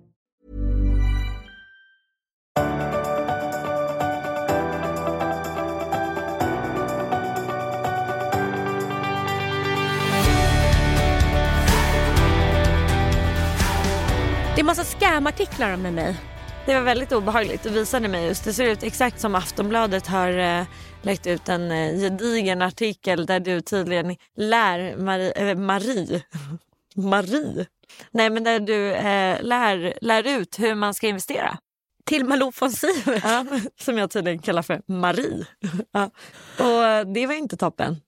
Det är massa scamartiklar om mig. Det var väldigt obehagligt. Du visade mig just. Det ser ut exakt som Aftonbladet har eh, lagt ut en eh, gedigen artikel där du tydligen lär Marie... eh, Marie. Marie. Nej men där du eh, lär, lär ut hur man ska investera. Till Malou von Sivers. Ja, som jag tydligen kallar för Marie. Ja. Och eh, det var inte toppen.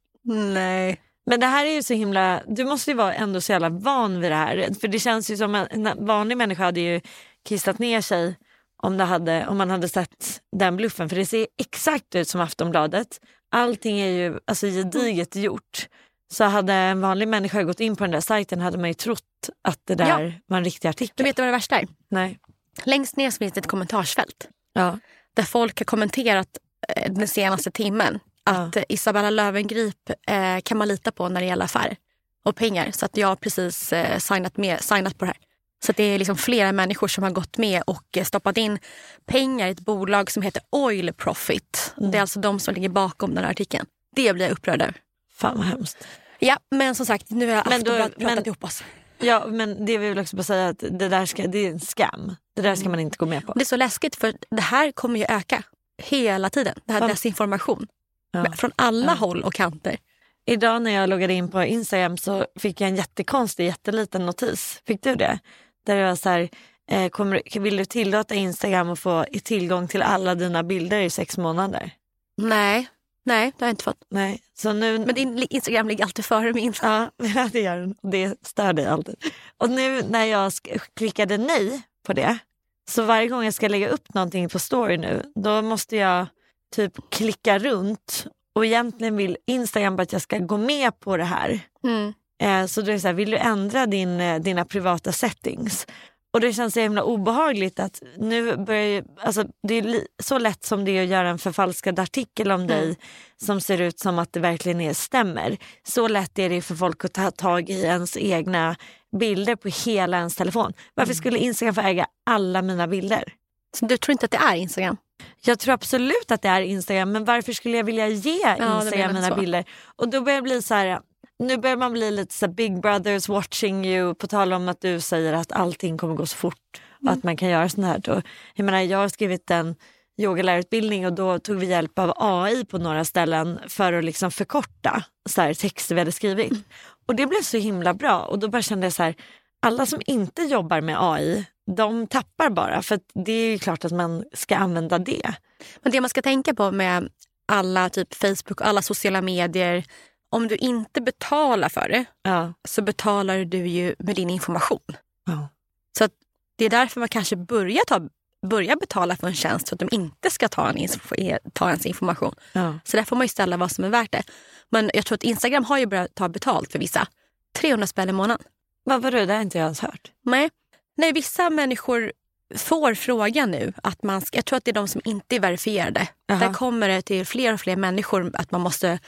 Nej. Men det här är ju så himla, du måste ju vara ändå så jävla van vid det här. För det känns ju som en, en vanlig människa hade ju kissat ner sig om, det hade, om man hade sett den bluffen. För det ser exakt ut som Aftonbladet. Allting är ju alltså, gediget gjort. Så hade en vanlig människa gått in på den där sajten hade man ju trott att det där var en riktig Du artikel. vet vad det värsta är? Nej. Längst ner så finns det ett kommentarsfält Ja. där folk har kommenterat eh, den senaste timmen att eh, Isabella Löwengrip eh, kan man lita på när det gäller affärer och pengar. Så att jag har precis eh, signat, med, signat på det här. Så att det är liksom flera människor som har gått med och eh, stoppat in pengar i ett bolag som heter Oil Profit. Mm. Det är alltså de som ligger bakom den här artikeln. Det blir jag upprörd över. Fan vad hemskt. Ja, men som sagt, nu har Men då- Aftonbladet pratat men- ihop oss. Ja men det vill jag också bara säga att det där ska, det är en skam. Det där ska man inte gå med på. Och Det är så läskigt för det här kommer ju öka hela tiden. Det här Ja. desinformation. Ja. Men Från alla håll och kanter. Idag när jag loggade in på Instagram så fick jag en jättekonstig, jätteliten notis. Fick du det? Där det var så här, eh, kommer, du- vill du tillåta Instagram att få tillgång till alla dina bilder i sex månader? Nej, nej det har jag inte fått. Nej, så nu... Men din Instagram ligger alltid före min. Ja, det gör den. Det stör dig alltid. Och nu när jag sk- klickade nej på det, så varje gång jag ska lägga upp någonting på story nu, då måste jag typ klicka runt och egentligen vill Instagram bara att jag ska gå med på det här. Mm. Eh, Så då är det så här, vill du ändra din, eh, dina privata settings? Och det känns så himla obehagligt att nu börjar ju, alltså det är li- så lätt som det är att göra en förfalskad artikel om dig som ser ut som att det verkligen är, stämmer. Så lätt är det för folk att ta tag i ens egna bilder på hela ens telefon. Varför skulle Instagram få äga alla mina bilder? Så du tror inte att det är Instagram? Jag tror absolut att det är Instagram men varför skulle jag vilja ge menar Instagram jag mina så. bilder? Och då börjar jag bli så här, nu börjar man bli lite så här, big brothers watching you på tal om att du säger att allting kommer gå så fort och att man kan göra sånt här. Då, jag menar jag har skrivit en yogalärarutbildning och då tog vi hjälp av AI på några ställen för att liksom förkorta så här, texter vi hade skrivit. Och det blev så himla bra och då bara kände jag så här, alla som inte jobbar med AI de tappar bara för att det är ju klart att man ska använda det. Men det man ska tänka på med alla typ Facebook och alla sociala medier. Om du inte betalar för det Ja. så betalar du ju med din information. Ja. Så att det är därför man kanske börjar, ta, börjar betala för en tjänst för att de inte ska ta, en, inf- ta ens information. Ja. Så där får man ju ställa vad som är värt det. Men jag tror att Instagram har ju börjat ta betalt för vissa. 300 spänn i månaden. Vad var det? Det har inte jag ens hört. Nej. Nej, vissa människor får frågan nu, att man ska, jag tror att det är de som inte är verifierade. Där kommer det till fler och fler människor att man måste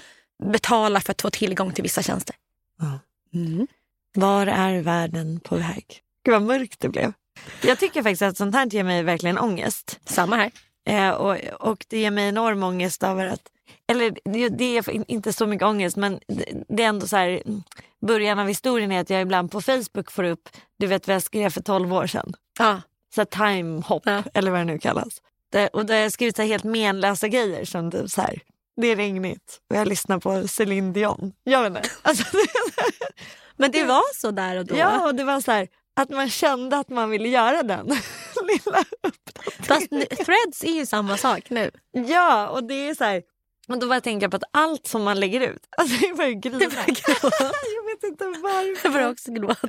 betala för att få tillgång till vissa tjänster. Ja. Mm. Var är världen på väg? Gud vad mörkt det blev. Jag tycker faktiskt att sånt här ger mig verkligen ångest. Samma här. Eh, och, och det ger mig enorm ångest över att, eller det- det är inte så mycket ångest men det- det är ändå så här, mm, början av historien är att jag ibland på Facebook får upp, du vet vad jag skrev för 12 år sedan. Ja. Så här time hop Ja. eller vad det nu kallas. Där, och där har jag skrivit så här helt menlösa grejer som typ så här, det är regnigt och jag lyssnar på Céline Dion. Jag vet inte. Alltså, Men det var så där och då. Ja, och det var så här att man kände att man ville göra den lilla Fast nu, threads är ju samma sak nu. Ja, och det är så här. Och då bara tänker jag på att allt som man lägger ut, alltså jag börjar grina. Det börjar gråta. jag vet inte Jag börjar varför. också gråta.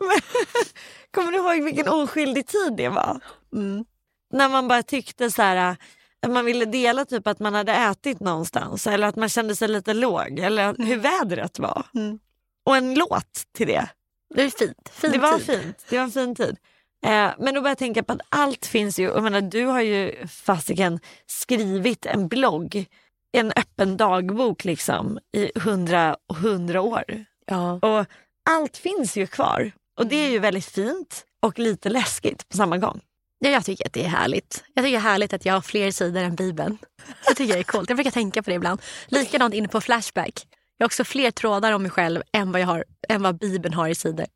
Men, Kommer du ihåg vilken oskyldig tid det var? Mm. När man bara tyckte så här att man ville dela typ att man hade ätit någonstans eller att man kände sig lite låg eller hur vädret var. Mm. Och en låt till det. Det är fint. Fin det var tid. fint. Det var en fin tid. Eh, men då börjar jag tänka på att allt finns ju. Jag menar, du har ju fasiken skrivit en blogg, en öppen dagbok liksom i hundra, hundra år. Ja. Mm. Och allt finns ju kvar. Och det är ju väldigt fint och lite läskigt på samma gång. Ja, jag tycker att det är härligt. Jag tycker det är härligt att jag har fler sidor än Bibeln. Jag tycker det är coolt. Jag brukar tänka på det ibland. Likadant inne på Flashback. Jag har också fler trådar om mig själv än vad, jag har, än vad Bibeln har i sidor.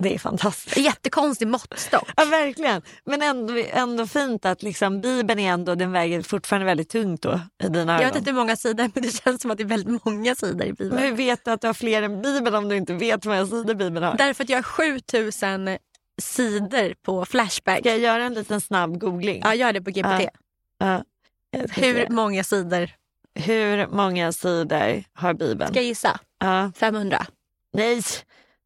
Det är fantastiskt. Jättekonstig måttstock. Ja, verkligen. Men ändå, ändå fint att liksom, Bibeln är ändå, den väger fortfarande väldigt tungt då i dina Jag vet ögon. inte hur många sidor, men det känns som att det är väldigt många sidor i Men Bibeln. hur vet du att du har fler än Bibeln om du inte vet hur många sidor Bibeln har? Därför att jag har 7000 sidor på Flashback. Ska jag göra en liten snabb googling? Ja, gör det på GPT. Ja. Ja. Jag ska Hur se. många sidor? Hur många sidor har Bibeln? Ska jag gissa? Ja. 500. Nej,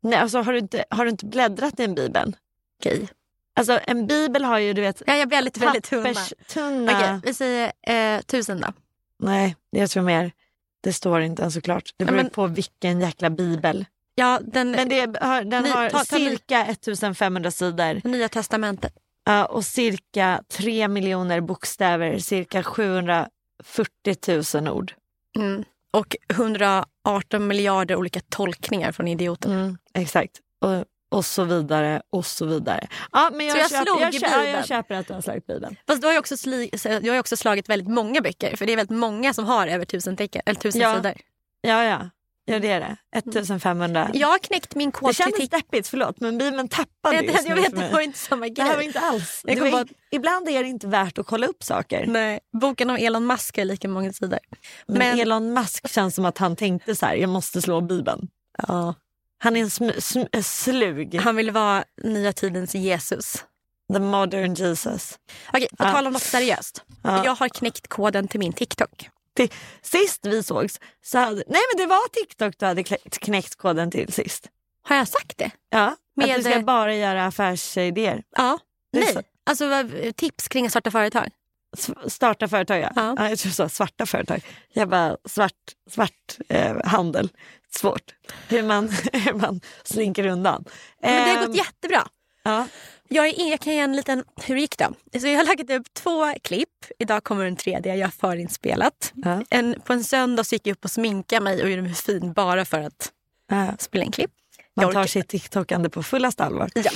Nej alltså, har, du inte, har du inte bläddrat i en bibel? Okej. Alltså, en bibel har ju du vet, Ja, jag blir lite väldigt tunna. papperstunna... Okej, vi säger eh, 1000 då. Nej, jag tror mer. Det står inte ens såklart. Det Ja, beror men- på vilken jäkla bibel. Ja, den, Men det, har, den Ni- har ta- ta ni- cirka 1500 sidor Nya testamentet. ja, och cirka 3 miljoner bokstäver, cirka 740 000 ord. Mm. Och 118 miljarder olika tolkningar från idioter. Mm, exakt. Och, och så vidare och så vidare. Ja, men jag, Så jag köper, slog jag, i köper, ja, Bibeln. jag köper att du har slagit Bibeln. Fast du har, ju också sli- så- du har ju också slagit väldigt många böcker. För det är väldigt många som har över tusen, tecken, eller tusen Ja. sidor. Ja, ja. ja det är det. 1500. Mm. Jag har knäckt min det kod till kändes tick. deppigt, förlåt, men Bibeln Jag tappade vet, jag just nu vet för det mig. var inte samma Det här var grej. inte alls. Jag Det kom var på in, ibland är det inte värt att kolla upp saker. Nej. Boken om Elon Musk har lika många sidor. Men, Men- Elon Musk känns som att han tänkte så här, jag måste slå Bibeln. Ja. Han är en sm, sm, slug. Han vill vara nya tidens Jesus. The modern Jesus. Okej, på Ja. tal om något seriöst. Ja. Jag har knäckt koden till min TikTok. Ti- Sist vi sågs så hade... Nej men det var TikTok du hade klä- knäckt koden till sist. Har jag sagt det? Ja, Med- eh, att du ska bara göra affärsidéer. Ja. Det är Nej. så- Alltså vad- tips kring att starta företag. S- starta företag ja. Ja. ja. jag tror så, svarta företag. Jag bara svart, svart eh, handel. Svårt. Hur man, hur man slinker undan. Men det har Ehm, gått jättebra. ja. Jag, är, jag kan ge en liten... Hur gick det? Så jag har lagt upp två klipp. Idag kommer en tredje. Jag har förinspelat. Ja. En, på en söndag så gick jag upp och sminkade mig och gjorde mig fin bara för att Ja. spela en klipp. Jag Man orkar- tar sitt TikTokande på fullaste allvar. Ja.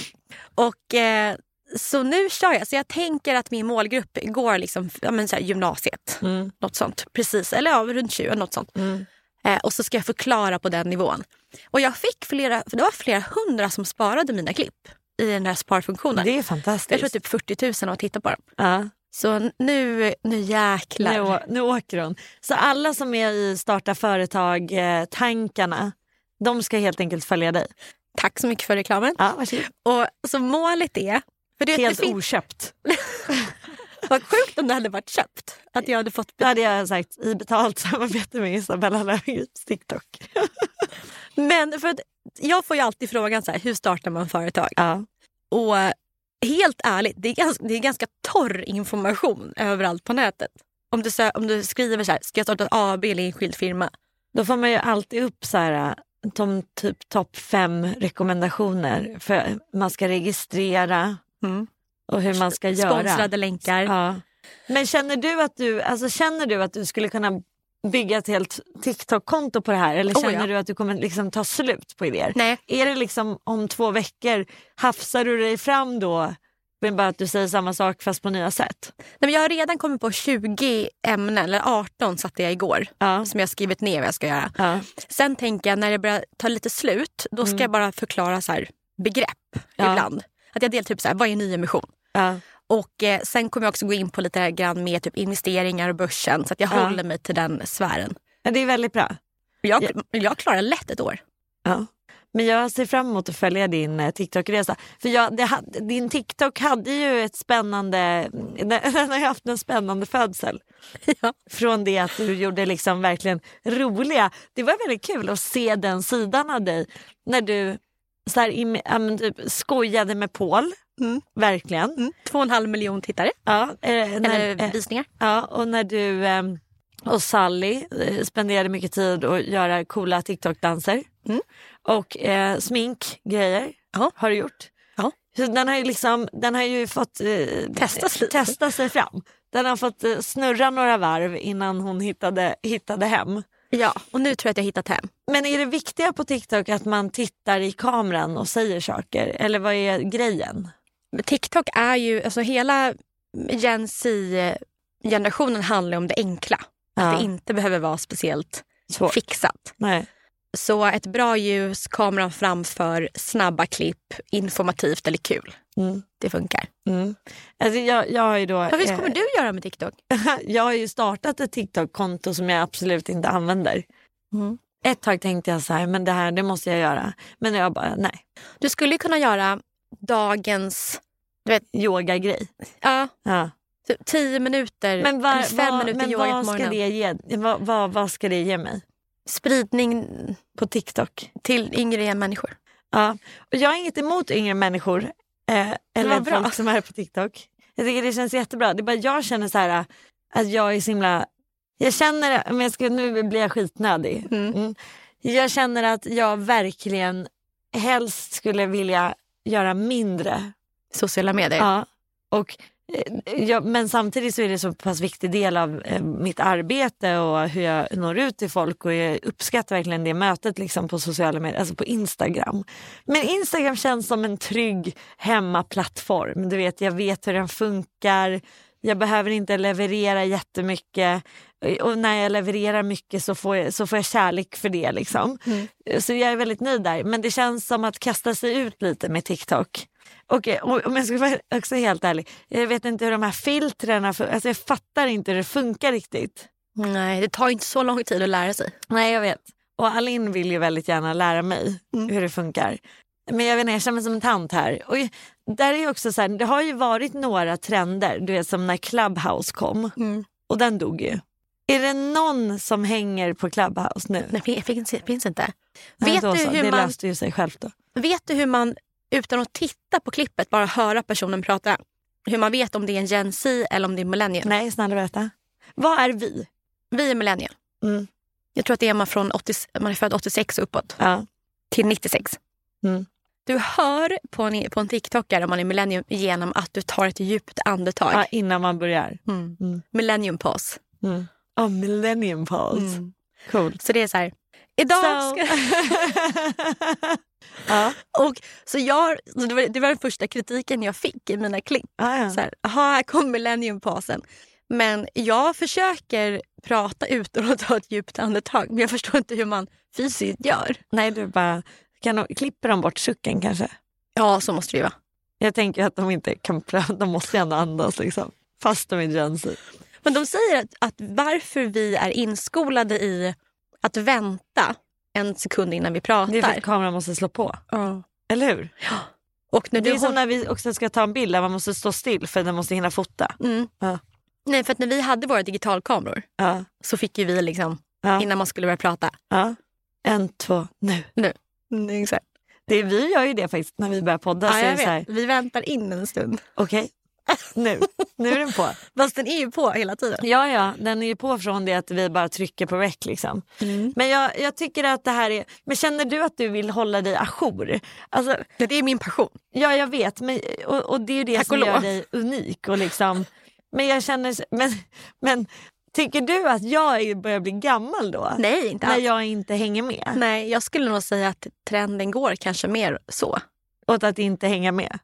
Och, eh, så nu kör jag. Så jag tänker att min målgrupp går liksom, ja, men så här, gymnasiet. Mm. Något sånt. Precis. Eller ja, runt 20. Något sånt. Eh, och så ska jag förklara på den nivån. Och jag fick flera, för det var flera hundra som sparade mina klipp i den här sparfunktionen. Det är fantastiskt. Jag tror typ 40 000 har tittat på dem. ja. Så nu, nu jäklar. nu, å- nu åker hon. Så alla som är i starta företag-tankarna, de ska helt enkelt följa dig. Tack så mycket för reklamen. Ja, varsågod. Och så målet är... För det, Helt det fin- oköpt. Vad sjukt om det hade varit köpt. Att jag hade fått... Det hade jag sagt i betalt samarbete med Isabella Löwengrips TikTok. Men för att jag får ju alltid frågan så här, hur startar man företag? Ja. Och helt ärligt, det är, ganska, det är ganska torr information överallt på nätet. Om du, sö- om du skriver så här, ska jag starta ett AB eller enskild firma? Då får man ju alltid upp så här, de typ topp fem rekommendationer. För man ska registrera, Mm. och hur man ska göra. Sponsrade länkar. Ja. Men känner du, att du, alltså, känner du att du skulle kunna bygga ett helt TikTok-konto på det här eller Oh, känner ja. du att du kommer liksom ta slut på idéer? Nej. Är det liksom om två veckor, hafsar du dig fram då men bara att du säger samma sak fast på nya sätt? Nej, men jag har redan kommit på 20 ämnen, eller 18 satte jag igår, Ja. som jag har skrivit ner vad jag ska göra. Ja. Mm. Sen tänker jag när det börjar ta lite slut, då ska jag bara förklara så här, begrepp Ja. ibland. Att jag delar typ så här, vad är nyemission? Ja. Och eh, sen kommer jag också gå in på lite grann med typ investeringar och börsen så att jag Ja. håller mig till den sfären. Ja, det är väldigt bra. Jag, jag klarar lätt ett år. Ja. Men jag ser fram emot att följa din eh, TikTok-resa. För jag, det, ha- din TikTok hade ju ett spännande... Den den har ju haft en spännande födsel. Ja. Från det att du gjorde liksom verkligen roliga... Det var väldigt kul att se den sidan av dig. När du så här, im- ja, men typ, skojade med Paul. Mm. Verkligen. Två och en halv miljon tittare, Ja, eh, när, eller eh, visningar. Ja, och när du ehm, och Sally eh, spenderade mycket tid att göra coola TikTok-danser Mm. och eh, sminkgrejer Ja. har du gjort. Ja. Så den har ju liksom, den har ju fått eh, Testas lite. testa sig fram. Den har fått eh, snurra några varv innan hon hittade, hittade hem. Ja, och nu tror jag att jag hittat hem. Men är det viktiga på TikTok att man tittar i kameran och säger saker? Eller vad är grejen? TikTok är ju, alltså hela Gen Z-generationen handlar om det enkla. Att det inte behöver vara speciellt Svårt. fixat. Nej. Så ett bra ljus, kameran framför, snabba klipp, informativt eller kul. Mm. Det funkar. Mm. Alltså jag, jag har ju då... Men hur eh, kommer du göra med TikTok? jag har ju startat ett TikTok-konto som jag absolut inte använder. Mm. Ett tag tänkte jag så här, men det här det måste jag göra. Men jag bara, nej. Du skulle ju kunna göra dagens Yoga-grej. ja, Ja. typ 10 minuter, Men, vad- eller 5 vad- minuter men yoga på vad, ska morgonen. det ge, vad, vad, vad ska det ge mig Spridning på TikTok? till yngre människor. Ja. Och jag är inget emot yngre människor eh, eller vad bra. folk som är på TikTok. Jag tycker det känns jättebra. Det är bara jag känner så här eh, att jag är så himla... Jag känner, men jag ska, nu blir jag skitnödig. Mm. Mm. Jag känner att jag verkligen helst skulle vilja göra mindre. Sociala medier. Ja. Och, eh, jag, men samtidigt så är det så pass viktig del av eh, mitt arbete och hur jag når ut till folk och jag uppskattar verkligen det mötet liksom på sociala medier, alltså på Instagram. Men Instagram känns som en trygg hemmaplattform. Du vet, jag vet hur den funkar. Jag behöver inte leverera jättemycket Eh, och när jag levererar mycket så får jag, så får jag kärlek för det. Liksom. Så jag är väldigt nöjd där. Men det känns som att kasta sig ut lite med TikTok. Och, eh, om om jag ska vara också helt ärlig, jag vet inte hur de här filtrerna, fun- alltså jag fattar inte hur det funkar riktigt. Nej, det tar inte så lång tid att lära sig. Nej jag vet. Mm. Och Alin vill ju väldigt gärna lära mig hur det funkar. Men jag vet inte, jag känner mig som en tant här. Och jag- där är ju också så här, det har ju varit några trender, du vet som när Clubhouse kom. Och den dog ju. Är det någon som hänger på Clubhouse nu? Nej, det finns, finns inte. Nej, vet, då du så. hur det man, löste ju sig själv då. vet du hur man, utan att titta på klippet, bara höra personen prata, hur man vet om det är en Gen Z eller om det är millennial? Nej, snälla berätta. Vad är vi? Vi är millennial. Mm. Jag tror att det är man från 80, man är född 86 och uppåt Ja. till 96. Mm. Du hör på en, på en TikTokare om man är millennium genom att du tar ett djupt andetag. ja, innan man börjar. Mm. Mm. Millennium pause. Mm. Oh, millennium pause. Mm. Coolt. Så det är så här, idag So- ska... ja. Och, så jag, så det, var, det var den första kritiken jag fick i mina klipp. Ja, ja. Så här, aha, här kom millenniumpasen. Men jag försöker prata utan att ta ett djupt andetag. Men jag förstår inte hur man fysiskt gör. Nej, du bara... Kan de, klipper de bort sucken kanske? Ja, så måste det ju vara. Jag tänker att de inte kan prata, de måste ju ändå andas liksom. Fast de är Gen Z. Men de säger att, att varför vi är inskolade i att vänta en sekund innan vi pratar. Det är för att kameran måste slå på, Ja. eller hur? Och när Det du är som hon... när vi också ska ta en bild där man måste stå still för den måste hinna fota. mm. Ja. Nej, för att när vi hade våra digitalkameror Ja, så fick ju vi liksom, Ja. innan man skulle börja prata. ja. En, två, nu. Nu. Mm, exakt. Alltså, Det, vi gör ju det faktiskt när vi börjar podda. så Ja, är jag det så här, vet. Vi väntar in en stund. Okej, nu. Nu är den på. Fast den är ju på hela tiden. Ja, ja, den är ju på från det att vi bara trycker på rec liksom. Mm. Men jag, jag tycker att det här är... Men känner du att du vill hålla dig ajour? Alltså, Det är min passion. ja, jag vet. Men, och, och det är ju det Tack som och gör lov. dig unik. Och liksom, men jag känner... Men, men tycker du att jag är- börjar bli gammal då? Nej, inte När alls. jag inte hänger med? Nej, jag skulle nog säga att trenden går kanske mer så. Åt att inte hänga med?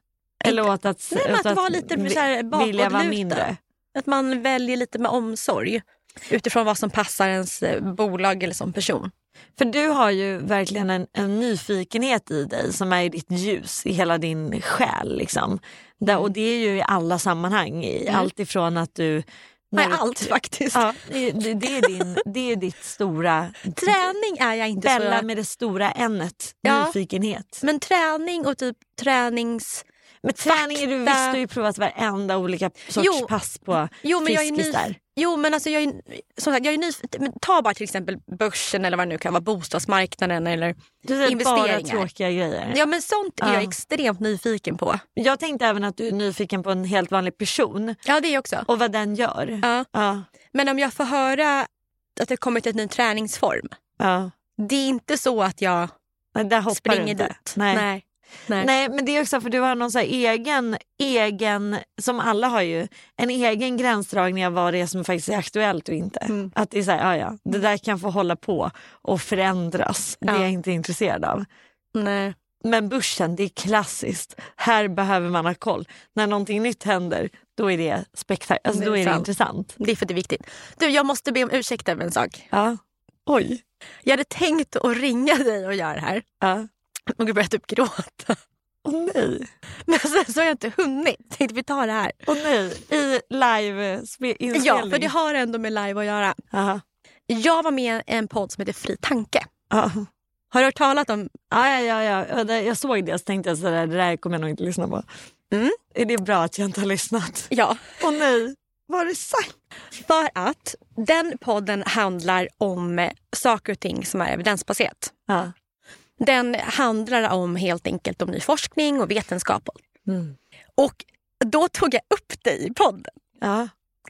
Eller åt att, Nej, men åt att vara lite vi- så här vilja vara bakåtlutad. mindre? Att man väljer lite med omsorg utifrån vad som passar ens eh, bolag eller som person. För du har ju verkligen en, en nyfikenhet i dig som är i ditt ljus, i hela din själ. Liksom. Mm. Där, och det är ju i alla sammanhang, i allt ifrån att du... Nej, när du- allt faktiskt. Ja, det, det, det är din, det är ditt stora... Träning är jag inte Bella så... med det stora N-et, Ja. Mm, nyfikenhet. Men träning och typ tränings... Men träning, är du Fakta. visst du har ju provat varenda olika sorts Jo. Mm. pass på Jo men, jag är Friskis nyf- där. jo, men alltså jag är, som sagt, jag är nyf- men Ta bara till exempel börsen eller vad det nu kan vara, bostadsmarknaden eller Du säger bara investeringar. tråkiga grejer. Ja men sånt är Ja. jag extremt nyfiken på. Jag tänkte även att du är nyfiken på en helt vanlig person Ja det är jag också. och vad den gör. Ja. Ja, Men om jag får höra att det kommit ett ny träningsform. ja. Det är inte så att jag Nej, Där hoppar du springer inte. dit. Nej. Nej. Nej. Nej. men det är också för du har någon så här egen, egen, som alla har ju, en egen gränsdragning av vad det är som faktiskt är aktuellt och inte. Mm. Att det är så här, ja, ja, det där kan få hålla på och förändras. Det är Ja. jag inte intresserad av. Nej. Men börsen, det är klassiskt. Här behöver man ha koll. När någonting nytt händer, då är det spektakel, alltså, Det är då är det sant. intressant. Det är för att det är viktigt. Du, jag måste be om ursäkt över en sak. Ja. Oj. Jag hade tänkt att ringa dig och göra det här. Ja. Och jag började typ gråta. Åh nej. Men sen så har jag inte hunnit. Tänkte vi tar det här. Åh nej. I live-inspelning. Ja, för det har ändå med live att göra. Ja. Jag var med i en podd som heter Fri tanke. Ja. Har du hört talat om? Ja, ja, ja, ja. Det- Jag såg det så tänkte jag sådär, det där kommer jag nog inte lyssna på. Mm. Är det bra att jag inte har lyssnat? Ja. Åh nej, var det sant? För att den podden handlar om eh, saker och ting som är evidensbaserat. Ja. Den handlar om helt enkelt om ny forskning och vetenskap. Och då tog jag upp dig i podden. Ja.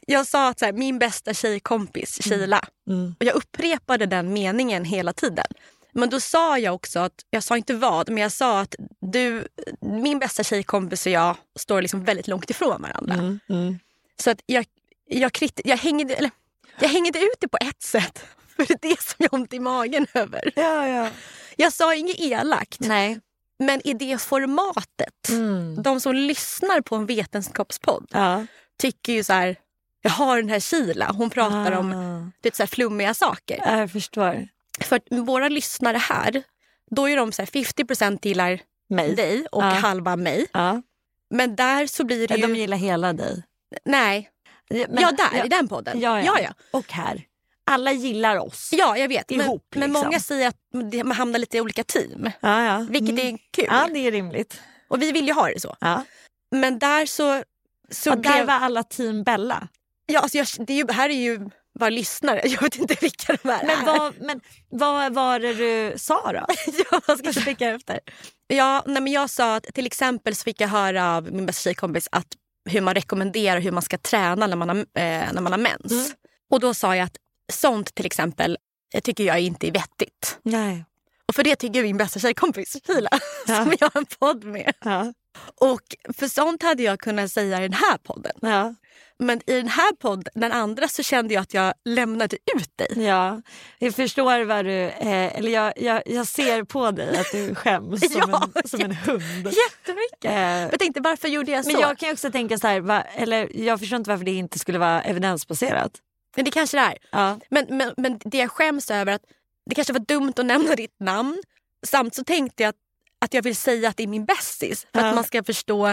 Jag sa att så här, min bästa tjejkompis, Kila. Mm. Och jag upprepade den meningen hela tiden. Men då sa jag också, att, jag sa inte vad, men jag sa att du, min bästa tjejkompis och jag står liksom väldigt långt ifrån varandra. Mm. Mm. Så att jag, jag, krit, jag, hängde, eller, jag hängde ut det på ett sätt. För det är det som jag har ont i magen över. Ja, ja. Jag sa inget elakt, Nej. men i det formatet. Mm. De som lyssnar på en vetenskapspodd Ja. tycker ju så här, jag har den här Kila, hon pratar om Ah. du vet, så här, flummiga saker. Ja, jag förstår. För att våra lyssnare här, då är de så här 50 gillar Mig. dig och Ja. halva mig. Ja. Men där så blir det ju... De gillar hela dig. Nej, Men- ja där, i den podden. Ja, ja. ja, ja. Och här. Alla gillar oss. Ja, jag vet. men, Ihop, men liksom. många säger att det- man hamnar lite i olika team. Ja, ja. Mm. Vilket är kul. Ja, det är rimligt. Och vi vill ju ha det så. Ja. Men där så... så Och där blev, var alla team Bella. ja, alltså jag, det är ju, här är ju bara lyssnare. Jag vet inte vilka de är. Men vad, men vad var det du sa då? ja, jag ska tänka efter. Ja, nej, men jag sa att till exempel så fick jag höra av min bästa tjejkompis att hur man rekommenderar hur man ska träna när man har, eh, när man har mens. Mm. Och då sa jag att sånt till exempel eh, tycker jag inte är vettigt. Nej. Och för det tycker min bästa tjejkompis Fila, Ja. som jag har en podd med. Ja. Och för sånt hade jag kunnat säga i den här podden. Ja. Men i den här podden, den andra, så kände jag att jag lämnade ut dig. Ja, jag förstår vad du... Eh, eller jag, jag, jag ser på dig att du skäms som, Ja, en, som en hund. Jättemycket! Eh, Jag tänkte varför gjorde jag så? men jag kan ju också tänka så här, va, eller jag förstår inte varför det inte skulle vara evidensbaserat. Men det kanske det är. Ja. Men, men, men det jag skäms över är att det kanske var dumt att nämna ditt namn. Samt så tänkte jag att, att jag vill säga att det är min bästis. För Ja. att man ska förstå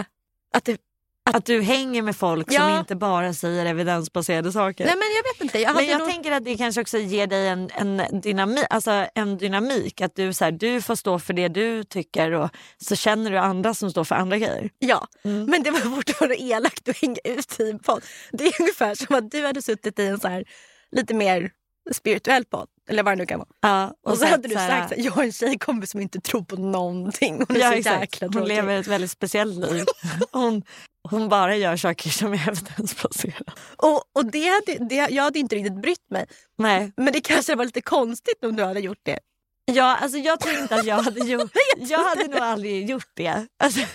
att det... Att du hänger med folk som Ja. inte bara säger evidensbaserade saker. Nej men jag vet inte. Jag hade men jag nog... tänker att det kanske också ger dig en, en, dynamik, alltså en dynamik. Att du, så här, du får stå för det du tycker och så känner du andra som står för andra grejer. Ja, Mm. men det var fortfarande elakt att hänga ut i en podd. Det är ungefär som att du hade suttit i en så här, lite mer spirituell podd. Eller vad det nu kan vara. Ja, Och, så, sagt hade du så här, sagt att jag har en tjejkompis som inte tror på någonting. Hon är Ja, så exakt. jäkla Hon tråkig. lever ett väldigt speciellt liv. Hon, hon bara gör saker som är evidensbaserade. Och, och det hade, det, jag hade inte riktigt brytt mig. Nej. Men det kanske var lite konstigt om du hade gjort det. Ja, alltså jag tror inte att jag hade gjort Jag hade nog aldrig gjort det. Alltså,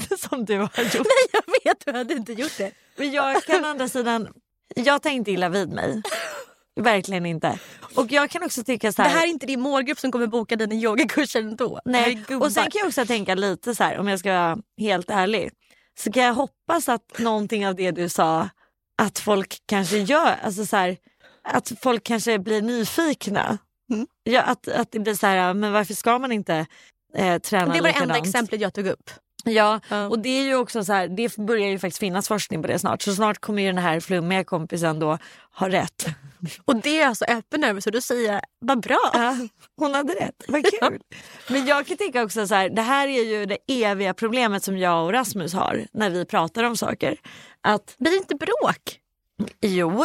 inte som du har gjort. Nej, jag vet. Du hade inte gjort det. Men jag kan å andra sidan, jag tänkte illa vid mig. Verkligen inte. Och jag kan också tycka så Det här. här är inte din målgrupp som kommer boka dina yogakurser ändå. nej, och sen kan jag också tänka lite så här, om jag ska vara helt ärlig. Så kan jag hoppas att någonting av det du sa, att folk kanske gör, alltså så här, att folk kanske blir nyfikna. Ja, att, att det blir så här, men varför ska man inte eh, träna det var det enda likadant? exemplet jag tog upp. Ja, Ja. och det är ju också så här, det börjar ju faktiskt finnas forskning på det snart. Så snart kommer ju den här flummiga kompisen då ha rätt. Och det är alltså öppen över så då säger jag, vad bra. Ja, hon hade rätt, vad kul. Men jag kan tänka också så här, det här är ju det eviga problemet som jag och Rasmus har när vi pratar om saker. Att Det blir inte bråk. jo,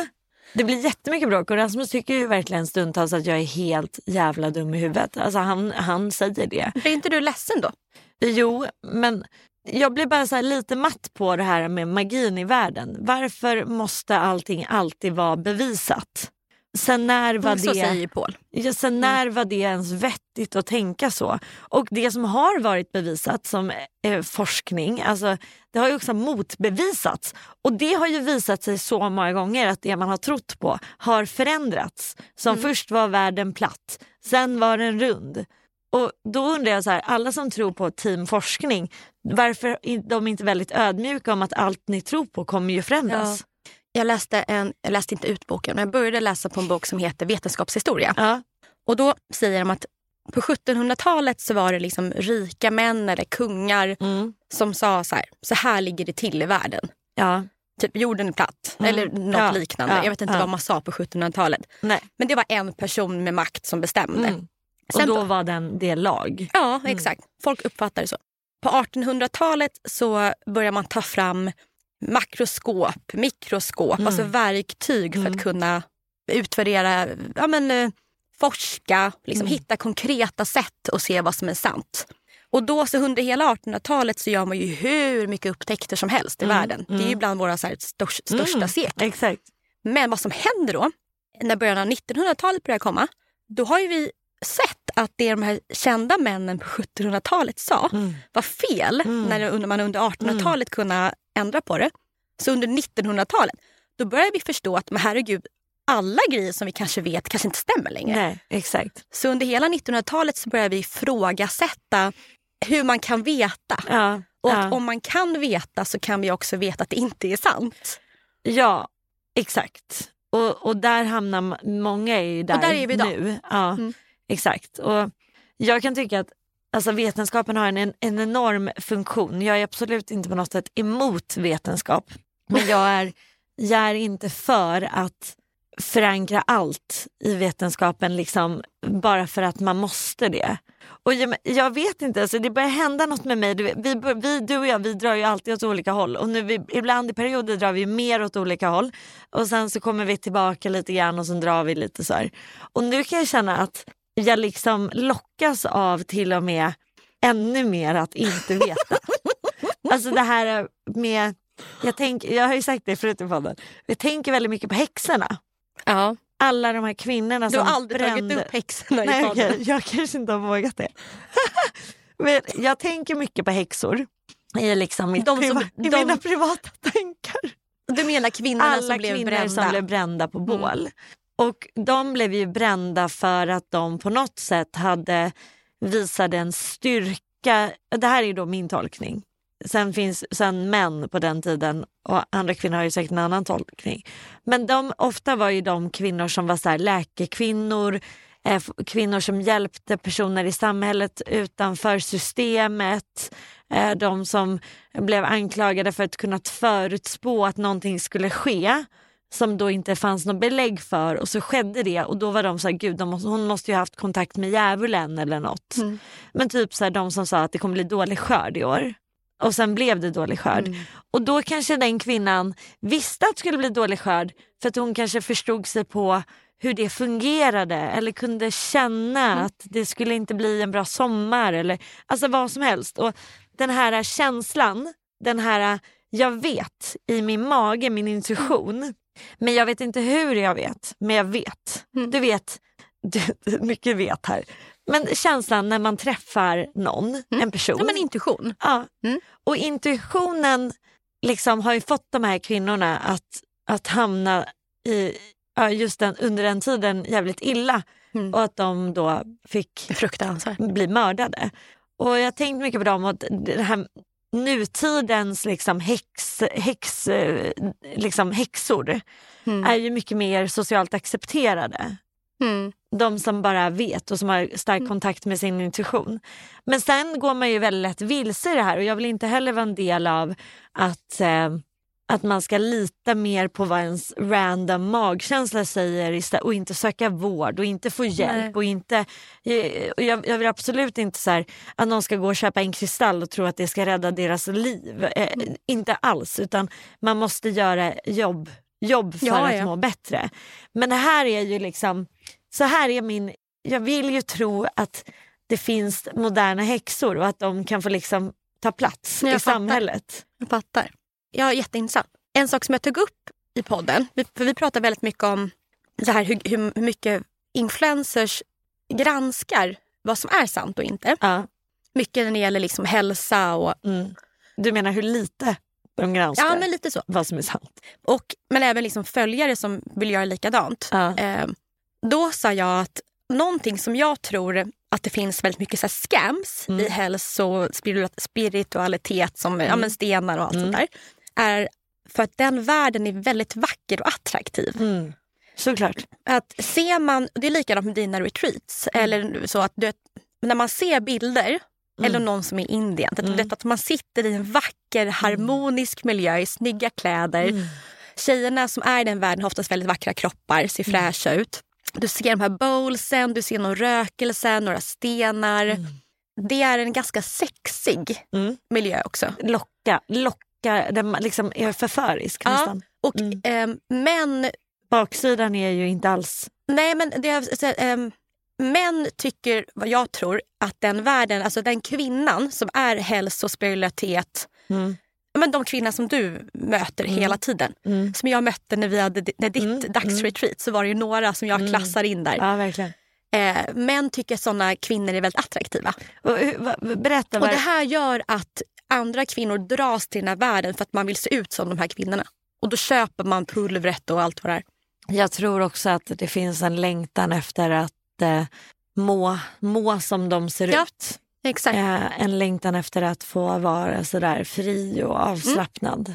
det blir jättemycket bråk och Rasmus tycker ju verkligen stundtals att jag är helt jävla dum i huvudet. Alltså han, han säger det. Blir inte du ledsen då? Jo, men jag blir bara så här lite matt på det här med magin i världen. Varför måste allting alltid vara bevisat? Sen när var Så säger det, ju Paul. ja, sen när var det ens vettigt att tänka så? Och det som har varit bevisat som eh, forskning, alltså, det har ju också motbevisats. Och det har ju visat sig så många gånger att det man har trott på har förändrats. Som först var världen platt, sen var den rund. Och då undrar jag så här, alla som tror på teamforskning, varför är de inte väldigt ödmjuka om att allt ni tror på kommer ju förändras? Jag läste, en, jag läste inte ut boken, men jag började läsa på en bok som heter Vetenskapshistoria. Ja. Och då säger de att på 1700-talet så var det liksom rika män eller kungar Mm. som sa så här, så här ligger det till i världen. Ja. Typ jorden är platt eller något Mm. Ja, liknande. ja, Jag vet inte ja. vad man sa på 1700-talet. Nej. Men det var en person med makt som bestämde. Mm. Och Sen då på- var den det lag. Ja, exakt. Folk uppfattar det så. På 1800-talet så börjar man ta fram makroskop, mikroskop, alltså verktyg för att kunna utvärdera, ja, men, eh, forska, liksom, hitta konkreta sätt och se vad som är sant. Och då så under hela 1800-talet så gör man ju hur mycket upptäckter som helst i världen. Det är ju bland våra så här, störs- största sekler. Exakt. Men vad som händer då, när början av 1900-talet börjar komma, då har ju vi sett att det de här kända männen på 1700-talet sa Mm. var fel när under- man under 1800-talet kunde ändra på det. Så under 1900-talet, då börjar vi förstå att men herregud, alla grejer som vi kanske vet kanske inte stämmer längre. Nej, exakt. Så under hela 1900-talet så börjar vi ifrågasätta hur man kan veta. Ja. Och ja. att om man kan veta så kan vi också veta att det inte är sant. Ja, exakt. Och, och där hamnar ma- många är ju där, Och där är vi idag. nu. Ja, Mm. Exakt. Och jag kan tycka att alltså, vetenskapen har en, en, en enorm funktion. Jag är absolut inte på något sätt emot vetenskap. Men jag är, jag är inte för att förankra allt i vetenskapen liksom, bara för att man måste det. Och jag, jag vet inte, alltså det börjar hända något med mig. Du, vet, vi, bör- vi, du och jag vi drar ju alltid åt olika håll. Och nu vi, ibland i perioder drar vi mer åt olika håll. Och sen så kommer vi tillbaka lite grann och sen drar vi lite så här. Och nu kan jag känna att jag liksom lockas av till och med ännu mer att inte veta. alltså det här med, jag, tänk, jag har ju sagt det förut i podden, jag tänker väldigt mycket på häxorna. Ja. Alla de här kvinnorna Du som har aldrig Alltså, brände... tagit upp häxorna i Nej, podden. okej. Jag kanske inte har vågat det. Men jag tänker mycket på häxor. I, liksom mitt De som- priva- i de- mina privata tankar. Du menar kvinnorna Alla som blev kvinnor brända? Mm. som blev brända på bål. Och de blev ju brända för att de på något sätt hade visade en styrka. Det här är ju då min tolkning. Sen finns sen män på den tiden och andra kvinnor har ju säkert en annan tolkning. Men de, ofta var ju de kvinnor som var så här läkekvinnor, eh, f- kvinnor som hjälpte personer i samhället utanför systemet. Eh, de som blev anklagade för att kunnat förutspå att någonting skulle ske som då inte fanns något belägg för och så skedde det och då var de så här, gud de måste, hon måste ju ha haft kontakt med djävulen eller något. Men typ så här, de som sa att det kommer bli dålig skörd i år. Och sen blev det dålig skörd. Mm. Och då kanske den kvinnan visste att det skulle bli dålig skörd för att hon kanske förstod sig på hur det fungerade eller kunde känna Mm. att det skulle inte bli en bra sommar eller alltså vad som helst. Och den här känslan, den här jag vet i min mage, min intuition, men jag vet inte hur jag vet, men jag vet. Mm. Du vet, du, du- mycket vet här. Men känslan när man träffar någon, en person. Mm. Ja, men intuition. Ja. Mm. Och intuitionen liksom har ju fått de här kvinnorna att, att hamna i, ja, just den, under den tiden jävligt illa Mm. och att de då fick Fruktansvärt. bli mördade. Och jag har tänkt mycket på dem och den här nutidens liksom häx, häx, eh, liksom häxor Mm. är ju mycket mer socialt accepterade. Mm. De som bara vet och som har stark kontakt med sin intuition. Men sen går man ju väldigt lätt vilse i det här och jag vill inte heller vara en del av att, eh, att man ska lita mer på vad ens random magkänsla säger istä- och inte söka vård och inte få hjälp. Nej. Och inte, eh, och jag, jag vill absolut inte så här, att någon ska gå och köpa en kristall och tro att det ska rädda deras liv. Eh, Mm. Inte alls, utan man måste göra jobb, jobb för Ja, att ja. må bättre. Men det här är ju liksom, så här är min, jag vill ju tro att det finns moderna häxor och att de kan få liksom ta plats Jag i fattar. samhället. Jag fattar. Ja, jätteintressant. En sak som jag tog upp i podden, vi- för vi pratar väldigt mycket om det här hur, hur mycket influencers granskar vad som är sant och inte. Ja. Mycket när det gäller liksom hälsa och Mm. Du menar hur lite de granskar ja, men lite så. vad som är sant? Och, men även liksom följare som vill göra likadant. Ja. Eh, då sa jag att någonting som jag tror att det finns väldigt mycket så här scams Mm. i hälso och spiritu- spiritualitet som ja, men stenar och allt Mm. sånt där. Är för att den världen är väldigt vacker och attraktiv. Mm. Såklart. Mm. Att ser man, det är likadant med dina retreats. Eller så att du, vet, när man ser bilder Mm. eller någon som är i Indien. Att, du vet, att man sitter i en vacker, harmonisk miljö i snygga kläder. Mm. Tjejerna som är i den världen har oftast väldigt vackra kroppar, ser Mm. fräscha ut. Du ser de här bowlsen, du ser någon rökelse, några stenar. Det är en ganska sexig Mm. miljö också. Locka, locka, den liksom är förförisk nästan. Och Mm. ehm, män Baksidan är ju inte alls... Nej, men det är, så, ehm, män tycker, vad jag tror, att den världen, alltså den kvinnan som är hälsospiritualitet, Mm. men de kvinnor som du möter hela tiden, Mm. som jag mötte när vi hade di- när ditt dagsretreat, så var det ju några som Mm. jag klassar in där. Ja, verkligen. Eh, män tycker såna kvinnor är väldigt attraktiva. Och, hur- va- berätta, Och vad det här gör att andra kvinnor dras till den här världen för att man vill se ut som de här kvinnorna. Och då köper man pulvret och allt vad det är. jag tror också att det finns en längtan efter att eh, må, må som de ser Ja. ut. Exakt. Eh, en längtan efter att få vara sådär fri och avslappnad.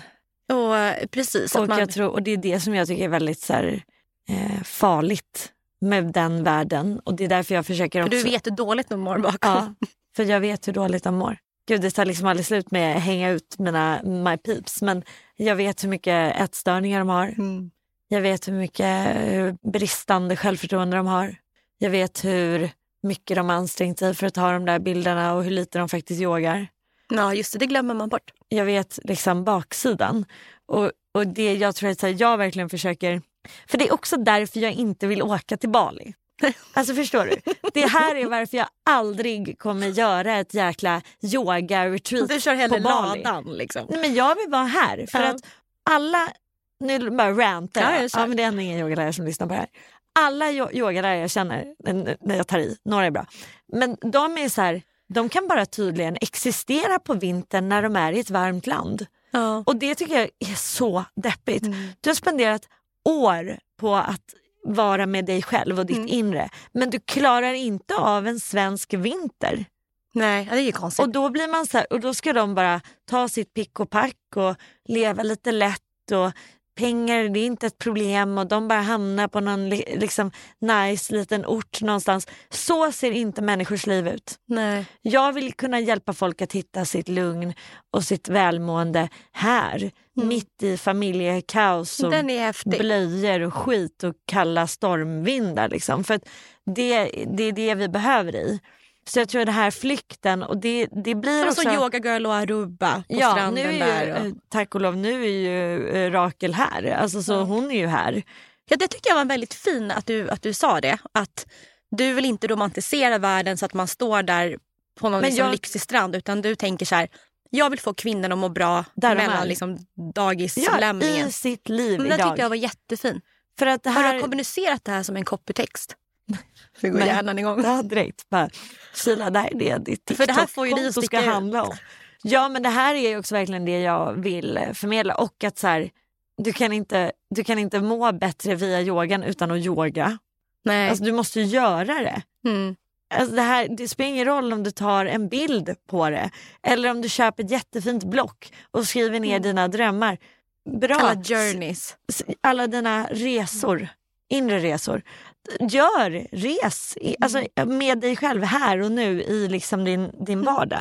Och, eh, precis, Och, Mm. att man... jag tror, och det är det som jag tycker är väldigt så här, eh, farligt med den världen. Och det är därför jag försöker också... För du vet hur dåligt de mår bakom. Ja, för jag vet hur dåligt de mår. Gud, det tar liksom aldrig slut med att hänga ut mina my peeps. Men jag vet hur mycket ätstörningar de har. Mm. Jag vet hur mycket hur bristande självförtroende de har. Jag vet hur mycket de har ansträngt sig för att ta de där bilderna och hur lite de faktiskt yogar. Ja, just det. Det glömmer man bort. jag vet liksom baksidan. Och, och det jag tror att så här, jag verkligen försöker... För det är också därför jag inte vill åka till Bali. Alltså förstår du? Det här är varför jag aldrig kommer göra ett jäkla yoga-retreat Du kör hellre på Bali. ladan liksom. Nej, men jag vill vara här. För Ja. att alla, nu bara rantar Ja, jag. ja, Ja, kör. men det är ändå ingen yogalärare som lyssnar på det här. Alla yo- yogalärare jag känner, n- när jag tar i, några är bra. Men de är så här, de kan bara tydligen existera på vintern när de är i ett varmt land. Ja. Mm. Och det tycker jag är så deppigt. Du har spenderat år på att vara med dig själv och ditt Mm. inre. Men du klarar inte av en svensk vinter. Nej, ja, det är ju konstigt. Och då blir man så här, och då ska de bara ta sitt pick och pack och leva lite lätt och pengar det är inte ett problem och de bara hamnar på någon li- liksom nice liten ort någonstans. Så ser inte människors liv ut. nej. Jag vill kunna hjälpa folk att hitta sitt lugn och sitt välmående här. Mitt i familjekaos och Mm. Den är häftig. blöjor och skit och kalla stormvindar. Liksom. För att det, det är det vi behöver i. Så jag tror den här flykten och det, det blir Alltså också... yoga girl och aruba på Ja, nu stranden är ju, där. eh, Och... tack och lov, nu är ju eh, Rakel här. Alltså, så Hon är ju här. Ja, det tycker jag var väldigt fin att du, att du sa det. Att du vill inte romantisera världen så att man står där på någon Men liksom jag- lyxig strand utan du tänker så här Jag vill få kvinnorna att må bra Där de är. mellan liksom, Ja, dagislämningen. I sitt liv Men det idag. tyckte jag var jättefin. För att det Har du här... kommunicerat det här som en copytext? Så går Nej. hjärnan igång. Ja, direkt. Bara, Sheila, där är det ditt För det här får ju dig att TikTok-konto ska sticka ut. handla om. Ja, men det här är ju också verkligen det jag vill eh, förmedla. Och att så här, du, kan inte, du kan inte må bättre via yogan utan att yoga. Nej. Alltså, du måste göra det. mm. Alltså, det, här, det spelar ingen roll om du tar en bild på det eller om du köper ett jättefint block och skriver ner Mm. dina drömmar. Bra. Alla journeys. S- alla dina resor, inre resor. Gör, res i, alltså, med dig själv här och nu i liksom din, Mm. din vardag.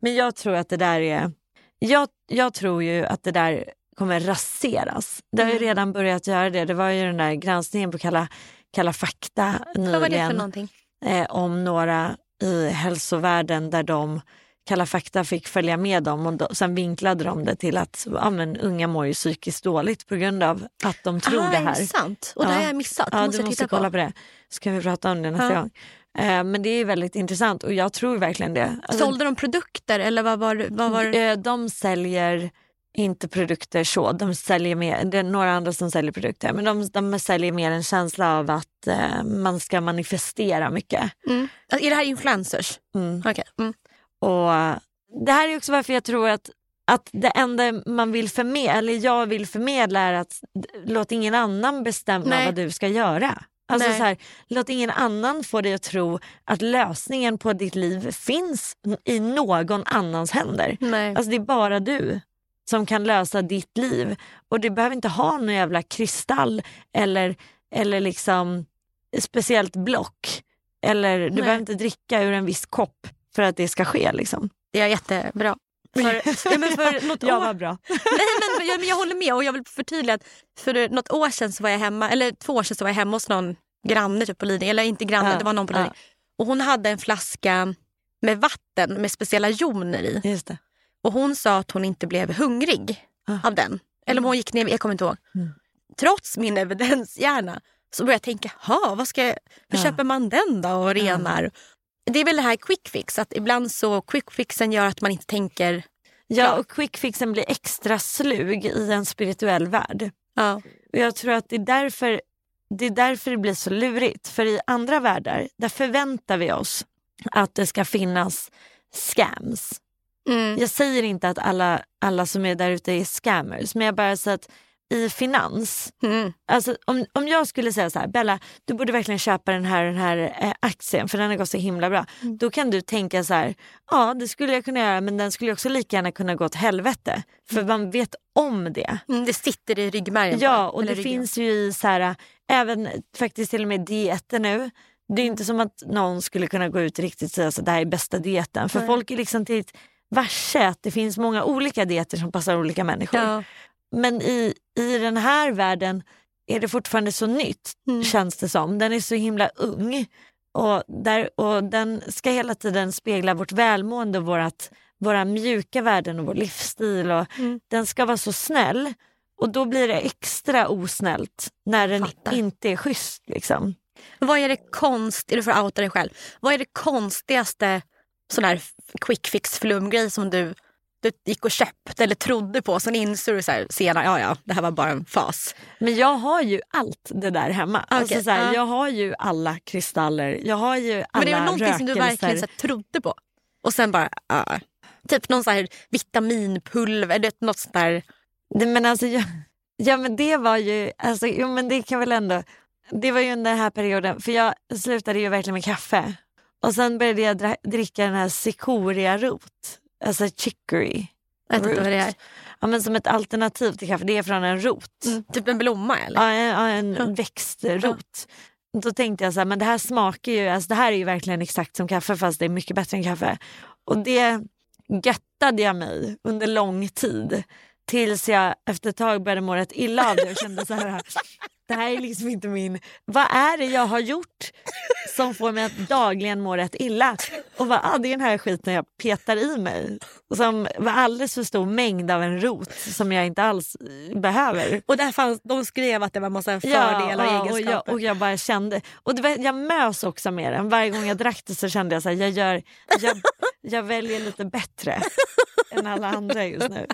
Men jag tror att det där är... Jag, jag tror ju att det där kommer raseras. Det har ju redan börjat göra det. Det var ju den där granskningen på Kalla, Kalla fakta nyligen. Vad var det för någonting? eh, om några i hälsovärlden där de Kalla fakta fick följa med dem och då, sen vinklade de det till att ja, men, unga mår ju psykiskt dåligt på grund av att de tror ah, det här. Är det sant? Och det har jag missat. Ja, måste du jag måste titta kolla på. på. det. Så kan vi prata om det nästa Ja. gång. Eh, men det är väldigt intressant och jag tror verkligen det. Alltså, Sålde de produkter eller vad var, vad var det? eh, de säljer inte produkter så, de säljer mer, det är några andra som säljer produkter, men de, de säljer mer en känsla av att eh, man ska manifestera mycket. Mm. Är det här influencers? Mm. Okej. Mm. Och det här är också varför jag tror att, att det enda man vill förmedla, eller jag vill förmedla är att d- låt ingen annan bestämma Nej. vad du ska göra. Alltså Nej. så här, låt ingen annan få dig att tro att lösningen på ditt liv finns n- i någon annans händer. Nej. Alltså det är bara du som kan lösa ditt liv. Och du behöver inte ha någon jävla kristall eller, eller liksom speciellt block. Eller du Nej. behöver inte dricka ur en viss kopp för att det ska ske. Liksom. Det är jättebra. För, ja, men för något ja, år, vad bra. nej, men, ja, men jag håller med och jag vill förtydliga att för något år sedan så var jag hemma, eller två år sedan så var jag hemma hos någon granne typ på Lidingö, eller inte granne, Ja, det var någon på ja. Lidingö. Och hon hade en flaska med vatten med speciella joner i. Just det. Och hon sa att hon inte blev hungrig Ah. av den. Eller om hon gick ner, jag kommer inte ihåg. Mm. Trots min evidenshjärna så började jag tänka, ha, vad ska jag, hur Ja. köper man den då Ah. och renar? Det är väl det här quick fix, att ibland så quick fixen gör att man inte tänker, Ja, och quickfixen blir extra slug i en spirituell värld. ja, Och jag tror att det är, därför, det är därför det blir så lurigt. För i andra världar, där förväntar vi oss att det ska finnas scams. mm, Jag säger inte att alla, alla som är där ute är scammers, men jag bara säger att i finans, mm, alltså om, om jag skulle säga så här, Bella du borde verkligen köpa den här, den här eh, aktien för den har gått så himla bra. Mm. Då kan du tänka så här, ja det skulle jag kunna göra men den skulle också lika gärna kunna gå åt helvete. För man vet om det. mm, det sitter i ryggmärgen. Ja, bara, och eller det ryggen. finns ju i så här, även faktiskt till och med dieter nu. Det är ju inte som att någon skulle kunna gå ut riktigt och säga att det här är bästa dieten. För Nej. folk är liksom till ett varse att det finns många olika dieter som passar olika människor. Ja. Men i, i den här världen är det fortfarande så nytt Mm. känns det som. Den är så himla ung och, där, och den ska hela tiden spegla vårt välmående och vårat, våra mjuka värden och vår livsstil. Och Mm. Den ska vara så snäll och då blir det extra osnällt när den Fattar. inte är schysst. Liksom. Vad är det konst, är du får outa dig själv. Vad är det konstigaste sån här quick fix flumgrej som du, du gick och köpte eller trodde på sen insåg du så här, senare, ja ja, det här var bara en fas. Men jag har ju allt det där hemma. Alltså, Okej, så här, ja. Jag har ju alla kristaller, jag har ju alla Men det är väl någonting som du rökelser. verkligen så här, trodde på och sen bara, ah. typ någon så här vitaminpulver, du vet, något sånt där. Nej, men alltså, jag, ja men det var ju, alltså, jo men det kan väl ändå, det var ju under den här perioden, för jag slutade ju verkligen med kaffe. Och sen började jag dra- dricka den här cikoria-rot, alltså chicory. Jag vet inte vad det är. Ja, men som ett alternativ till kaffe, det är från en rot. Typ en blomma eller? Ja, en, ja, en växtrot. Då tänkte jag så här, men det här smakar ju, alltså det här är ju verkligen exakt som kaffe fast det är mycket bättre än kaffe. Och det göttade jag mig under lång tid. Tills jag efter ett tag började må rätt illa av det och kände så här, det här är liksom inte min, vad är det jag har gjort som får mig att dagligen må rätt illa? Och vad, ah, det är den här skiten jag petar i mig. Som var alldeles för stor mängd av en rot som jag inte alls eh, behöver. Och där fanns, de skrev att det var massa eh, fördelar ja, och och egenskaper. jag, och jag bara kände, och det var, jag mös också med den. Varje gång jag drack det så kände jag så här, jag, gör, jag, jag väljer lite bättre än alla andra just nu.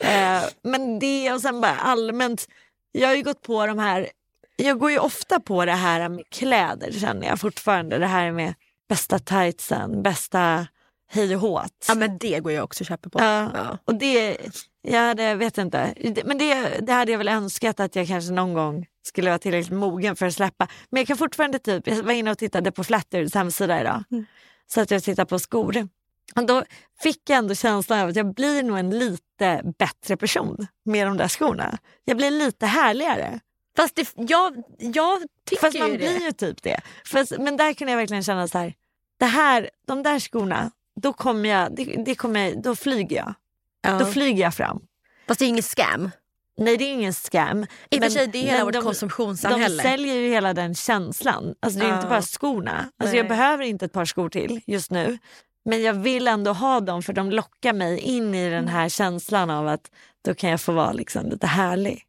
Eh, men det och sen bara allmänt, jag har ju gått på de här, jag går ju ofta på det här med kläder känner jag fortfarande. Det här med bästa tightsen, bästa hej och håt. Ja men det går jag också och köper på. Ja. Ja. Och det, jag hade, vet inte, Det- men det, det hade jag väl önskat att jag kanske någon gång skulle vara tillräckligt mogen för att släppa. Men jag kan fortfarande typ, jag var inne och tittade på Flatterds hemsida idag. Mm. Så att jag tittar på skor. Och då fick jag ändå känslan av att jag blir nog en lite bättre person med de där skorna. Jag blir lite härligare. Fast det, jag, jag tycker Fast man ju blir det. ju typ det. Fast, men där kunde jag verkligen känna så här, det här, de där skorna, då kommer jag, det, det kommer jag, då flyger jag. Ja. Då flyger jag fram. Fast det är ju ingen scam. Nej det är ingen scam. I och för Men- sig, det är men hela vårt de- konsumtionssamhälle. De säljer ju hela den känslan. Alltså det är ju inte Ja. bara skorna. Alltså jag Nej. behöver inte ett par skor till just nu. Men jag vill ändå ha dem för de lockar mig in i den här känslan av att då kan jag få vara liksom lite härlig.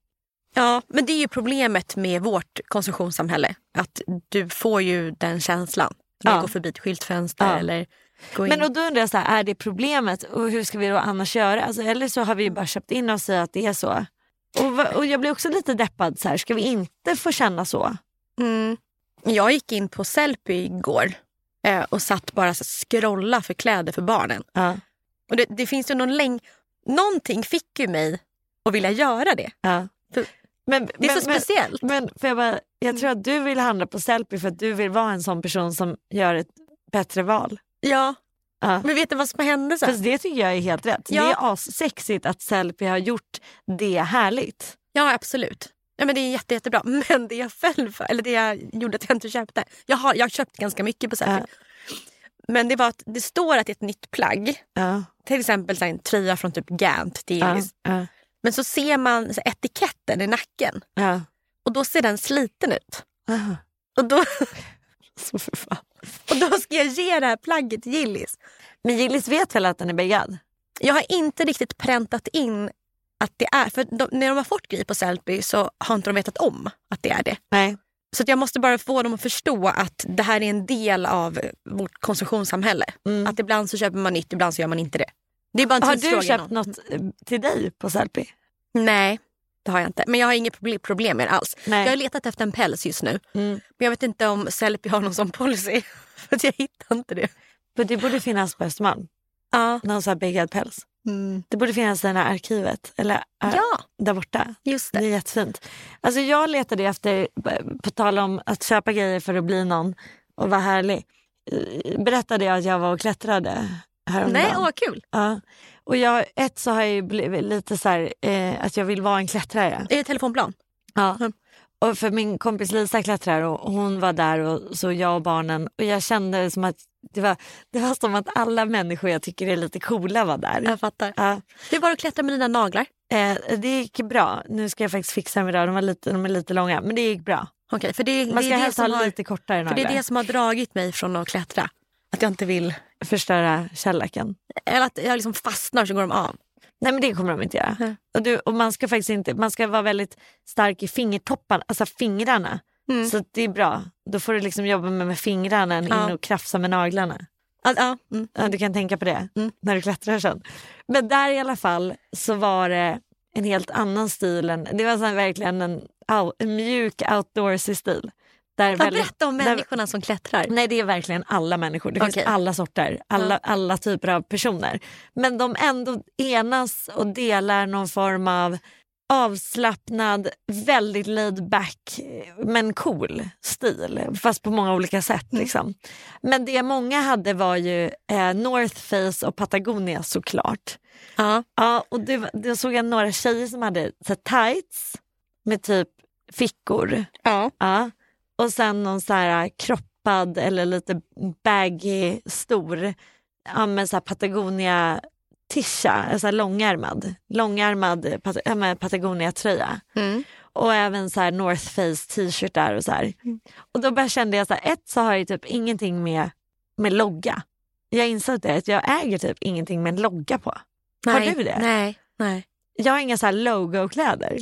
Ja, men det är ju problemet med vårt konsumtionssamhälle. Att du får ju den känslan när Ja. du går förbi ett skyltfönster Ja. eller går in. Men och då undrar jag så här, är det problemet och hur ska vi då annars göra? Alltså, eller så har vi ju bara köpt in oss i att det är så. Och, va- och jag blir också lite deppad så här, ska vi inte få känna så? Mm. Jag gick in på Sellpy igår eh, och satt bara så här scrolla för kläder för barnen. Ja. Och det, det finns ju någon länk... Någonting fick ju mig att vilja göra det. Ja. För- Men, Det är så speciellt. Mm. Men för jag, bara, jag tror att du vill handla på Sellpy för att du vill vara en sån person som gör ett bättre val. Ja. Ja. Men vet du vad som hände sen? Fast det tycker jag är helt rätt. Det Ja. är assexigt att Sellpy har gjort det härligt. Ja, absolut. Ja, men det är jätte, jättebra. Men det jag föll för, eller det jag gjorde att jag inte köpte. Jag har, jag har köpt ganska mycket på Säter. Men det var att det står att det är ett nytt plagg. Ja, Till exempel så här, en tröja från typ Gant. Det är ja, ju- ja, Men så ser man så här, etiketten i nacken ja. och då ser den sliten ut. Aha. Och då, Så för fan. och då ska jag ge det här plagget till Gillis. Men Gillis vet väl att den är beggad? Jag har inte riktigt präntat in att det är... För de, när de har fått grejer på Sellpy så har inte de vetat om att det är det. Nej. Så att jag måste bara få dem att förstå att det här är en del av vårt konsumtionssamhälle. Att ibland så köper man nytt, ibland så gör man inte det. Det är bara en Mm. Har tidsfråga du köpt innan. något eh, till dig på Sellpy? Nej, det har jag inte. Men jag har inget proble- problem med det alls. Nej. Mm. Jag har letat efter en päls just nu. Men jag vet inte om Sellpy har någon sån policy. För att jag hittar inte det. Men Det borde finnas på Östermalm. Ja, Någon sån här beggad päls. mm. Det borde finnas i det här arkivet. Eller, eh, ja Där borta. just Det det. är jättefint. Alltså jag letade efter, på tal om att köpa grejer för att bli någon och vara härlig. Eh, Berättade jag att jag var och klättrade häromdagen? Nej, åh vad kul. ja. Och jag, ett så har jag ju blivit lite så här, eh, att jag vill vara en klättrare. Är det telefonplan? Ja. Och för min kompis Lisa klättrar och hon var där och så jag och barnen och jag kände som att det var, det var som att alla människor jag tycker är lite coola var där. Jag fattar. Ja. Hur var det att klättra med dina naglar? Eh, det gick bra. Nu ska jag faktiskt fixa dem idag. De, var lite, de är lite långa, men det gick bra. Okej, för det, Man det ska är det helst ha som har... lite kortare För det är naglar. det som har dragit mig från att klättra. Att jag inte vill... Förstöra källaken. Eller att jag liksom fastnar så går de av. Nej men det kommer de inte göra. Och, du, och man ska faktiskt inte, man ska vara väldigt stark i fingertopparna, alltså fingrarna. Så att det är bra. Då får du liksom jobba med, med fingrarna än in och krafsa med naglarna. Ja, ja, mm. Ja, Mm. du kan tänka på det när du klättrar sen. Men där i alla fall så var det en helt annan stil. Än, det var så här verkligen en, au- en mjuk outdoorsig stil. Där Ja, väldigt- berätta om där- människorna som klättrar. Nej det är verkligen alla människor. Det Okej. finns alla sorter, alla, alla typer av personer. Men de ändå enas och delar någon form av avslappnad, väldigt laid back men cool stil. Fast på många olika sätt. Liksom. Men det många hade var ju eh, North Face och Patagonia såklart. Ja. Ja, och det, var- då såg jag några tjejer som hade så här, tights med typ fickor. Ja. Ja. Och sen någon så här äh, kroppad eller lite baggy, stor, ja men så här Patagonia tisha, alltså här långärmad, långärmad Pat- ja, men Patagonia tröja. Mm. Och även så här North Face t-shirt där och så här. Mm. Och då bara kände jag så här, ett så har jag ju typ ingenting med, med logga. Jag insåg det, att jag äger typ ingenting med en logga på. Har Nej, du det? Nej, nej. Jag har inga så här logokläder.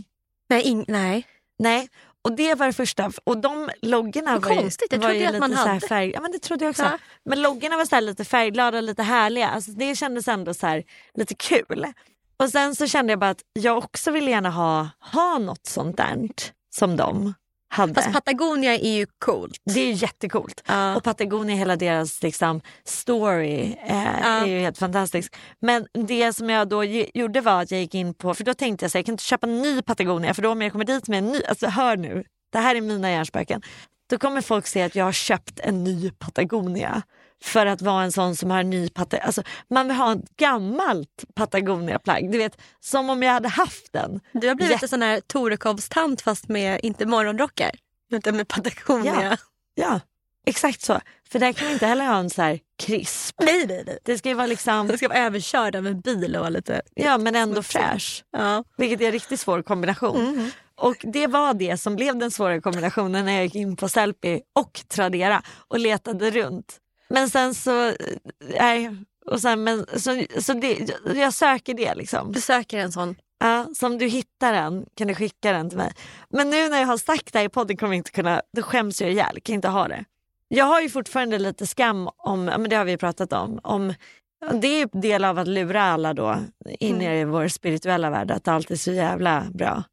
Nej, in, nej. Nej, och det var det första. Och de loggorna Vad var ju, konstigt, jag var trodde ju ju att lite man så här hade. färg... Ja, men det trodde jag också. Ja. Men loggorna var så här lite färgglada, lite härliga. Alltså, det kändes ändå så här lite kul. Och sen så kände jag bara att jag också vill gärna ha, ha något sånt där som de hade. Fast Patagonia är ju coolt. det är ju jättecoolt. Ja. Och Patagonia, hela deras liksom, story eh, Ja. är ju helt fantastisk. Men det som jag då ge- gjorde var att jag gick in på, för då tänkte jag så här, jag kan inte köpa en ny Patagonia för då om jag kommer dit med en ny, alltså hör nu, det här är mina hjärnspöken. Då kommer folk se att jag har köpt en ny Patagonia för att vara en sån som har en ny Patagonia. Alltså, man vill ha ett gammalt Patagonia-plagg, du vet som om jag hade haft den. Du har blivit Jätte- en sån här Torekovstant fast med, inte morgonrockar, utan med Patagonia. Ja. Ja, exakt så. För där kan man inte heller ha en så här krisp. Nej, nej, nej. Det ska ju vara liksom Jag ska vara överkörd av en bil och vara lite... Ja, men ändå fräsch. Ja. Vilket är en riktigt svår kombination. Och det var det som blev den svåra kombinationen när jag gick in på Sellpy och Tradera och letade runt. Men sen så... eh, Nej, och sen, men, så, så det, jag söker det liksom. Du söker en sån. Ja, så om du hittar den kan du skicka den till mig. Men nu när jag har sagt det här i podden kommer jag inte kunna, då skäms jag ihjäl, kan inte ha det. Jag har ju fortfarande lite skam om, ja, men det har vi ju pratat om, om det är ju en del av att lura alla då in i vår spirituella värld att allt är så jävla bra.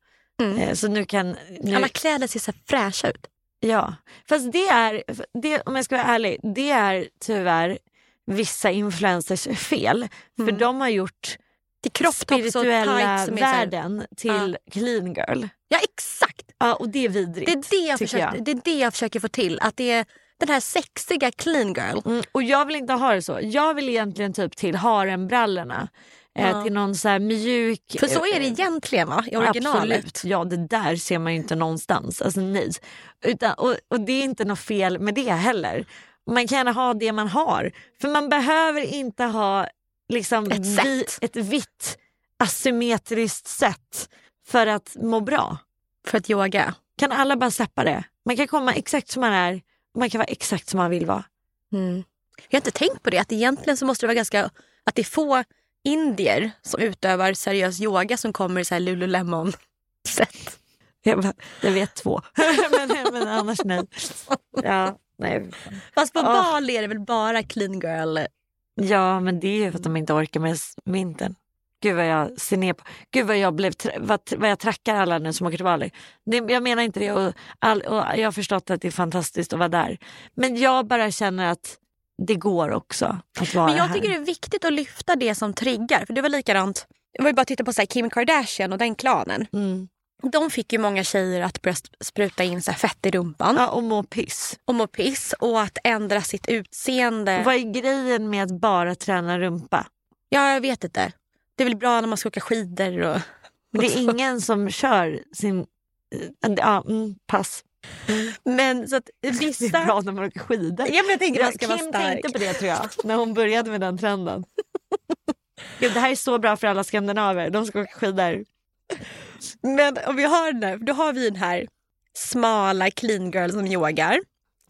Eh, Så nu kan... Nu, Alla kläder ser så här fräscha ut. Ja, fast det är, det, om jag ska vara ärlig, det är tyvärr vissa influencers fel. Mm. För de har gjort Det är kroppstops och spirituella tights som är så här- världen till clean girl. Ja, exakt. Ja, och det är vidrigt. Det är det, jag tycker försöker, det är det jag försöker få till. Att det är den här sexiga clean girl. Mm, och jag vill inte ha det så. Jag vill egentligen typ till harembrallorna. Eh, till någon så här mjuk... eh, För så är det egentligen va? I originalet. Mm. Absolut. Ja, det där ser man ju inte någonstans. Alltså nej. Utan, och, och det är inte något fel med det heller. Man kan gärna ha det man har. För man behöver inte ha liksom, Ett sätt. ett vitt asymmetriskt sätt för att må bra. För att yoga. Kan alla bara släppa det? Man kan komma exakt som man är. Man kan vara exakt som man vill vara. Jag har inte tänkt på det. Att egentligen så måste det vara ganska... Att det är få indier som utövar seriös yoga som kommer i så här Lululemon-sätt. Jag, bara, jag vet två. men, men annars nej. Ja, nej. Fast på Ah. Bali är det väl bara clean girl? ja, men det är ju för att de inte orkar med s- vintern. Gud vad jag ser ner på. Gud vad jag, blev tra- vad, vad jag trackar alla nu som åker till Bali. Det, jag menar inte det och, all, och jag har förstått att det är fantastiskt att vara där. Men jag bara känner att det går också att vara Men jag här. tycker det är viktigt att lyfta det som triggar. För det var likadant, jag var ju bara att titta på så här Kim Kardashian och den klanen. Mm. De fick ju många tjejer att börja sp- spruta in så här fett i rumpan Ja, och må piss. och må piss och att ändra sitt utseende. Vad är grejen med att bara träna rumpa? Ja, jag vet inte. Det är väl bra när man ska åka skidor och... Det är ingen som kör sin... Ja, mm, pass. Men så att Det vissa... är bra när man åker skidor. Ja, men jag tänker att man ska Ja, vara Kim stark. tänkte på det tror jag, när hon började med den trenden. Gud, det här är så bra för alla skandinaver, de ska åka skidor. Men om vi har den här, då har vi den här smala clean girl som yogar.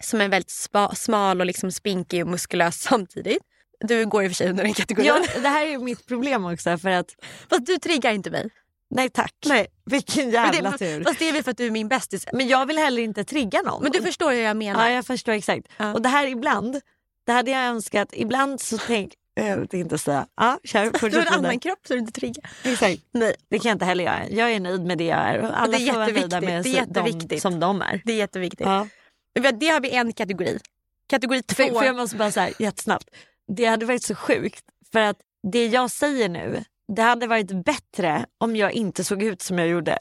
Som är väldigt spa, smal och liksom spinkig och muskulös samtidigt. Du går i och för sig under den kategorin. Jag, det här är mitt problem också för att Fast du triggar inte mig. Nej tack. Nej, vilken jävla men det, tur. fast det är väl för att du är min bästis. Men jag vill heller inte trigga någon. Men du förstår hur jag menar. Ja, jag förstår exakt. Ja. Och det här ibland, det hade jag önskat, ibland så tänk... Jag vet inte säga. Ja, kör. Du har fortsätt en med det. annan kropp så du inte triggar. Exakt. Nej. Det kan jag inte heller göra. Jag är nöjd med det jag är. Och Alla det är får vara nöjda jätteviktigt. med Det är sig- de jätteviktigt. som de är. Det är jätteviktigt. Ja. Vi har- Det har vi en kategori. Kategori två. För, för jag måste bara säga jättesnabbt. Det hade varit så sjukt. För att det jag säger nu, det hade varit bättre om jag inte såg ut som jag gjorde.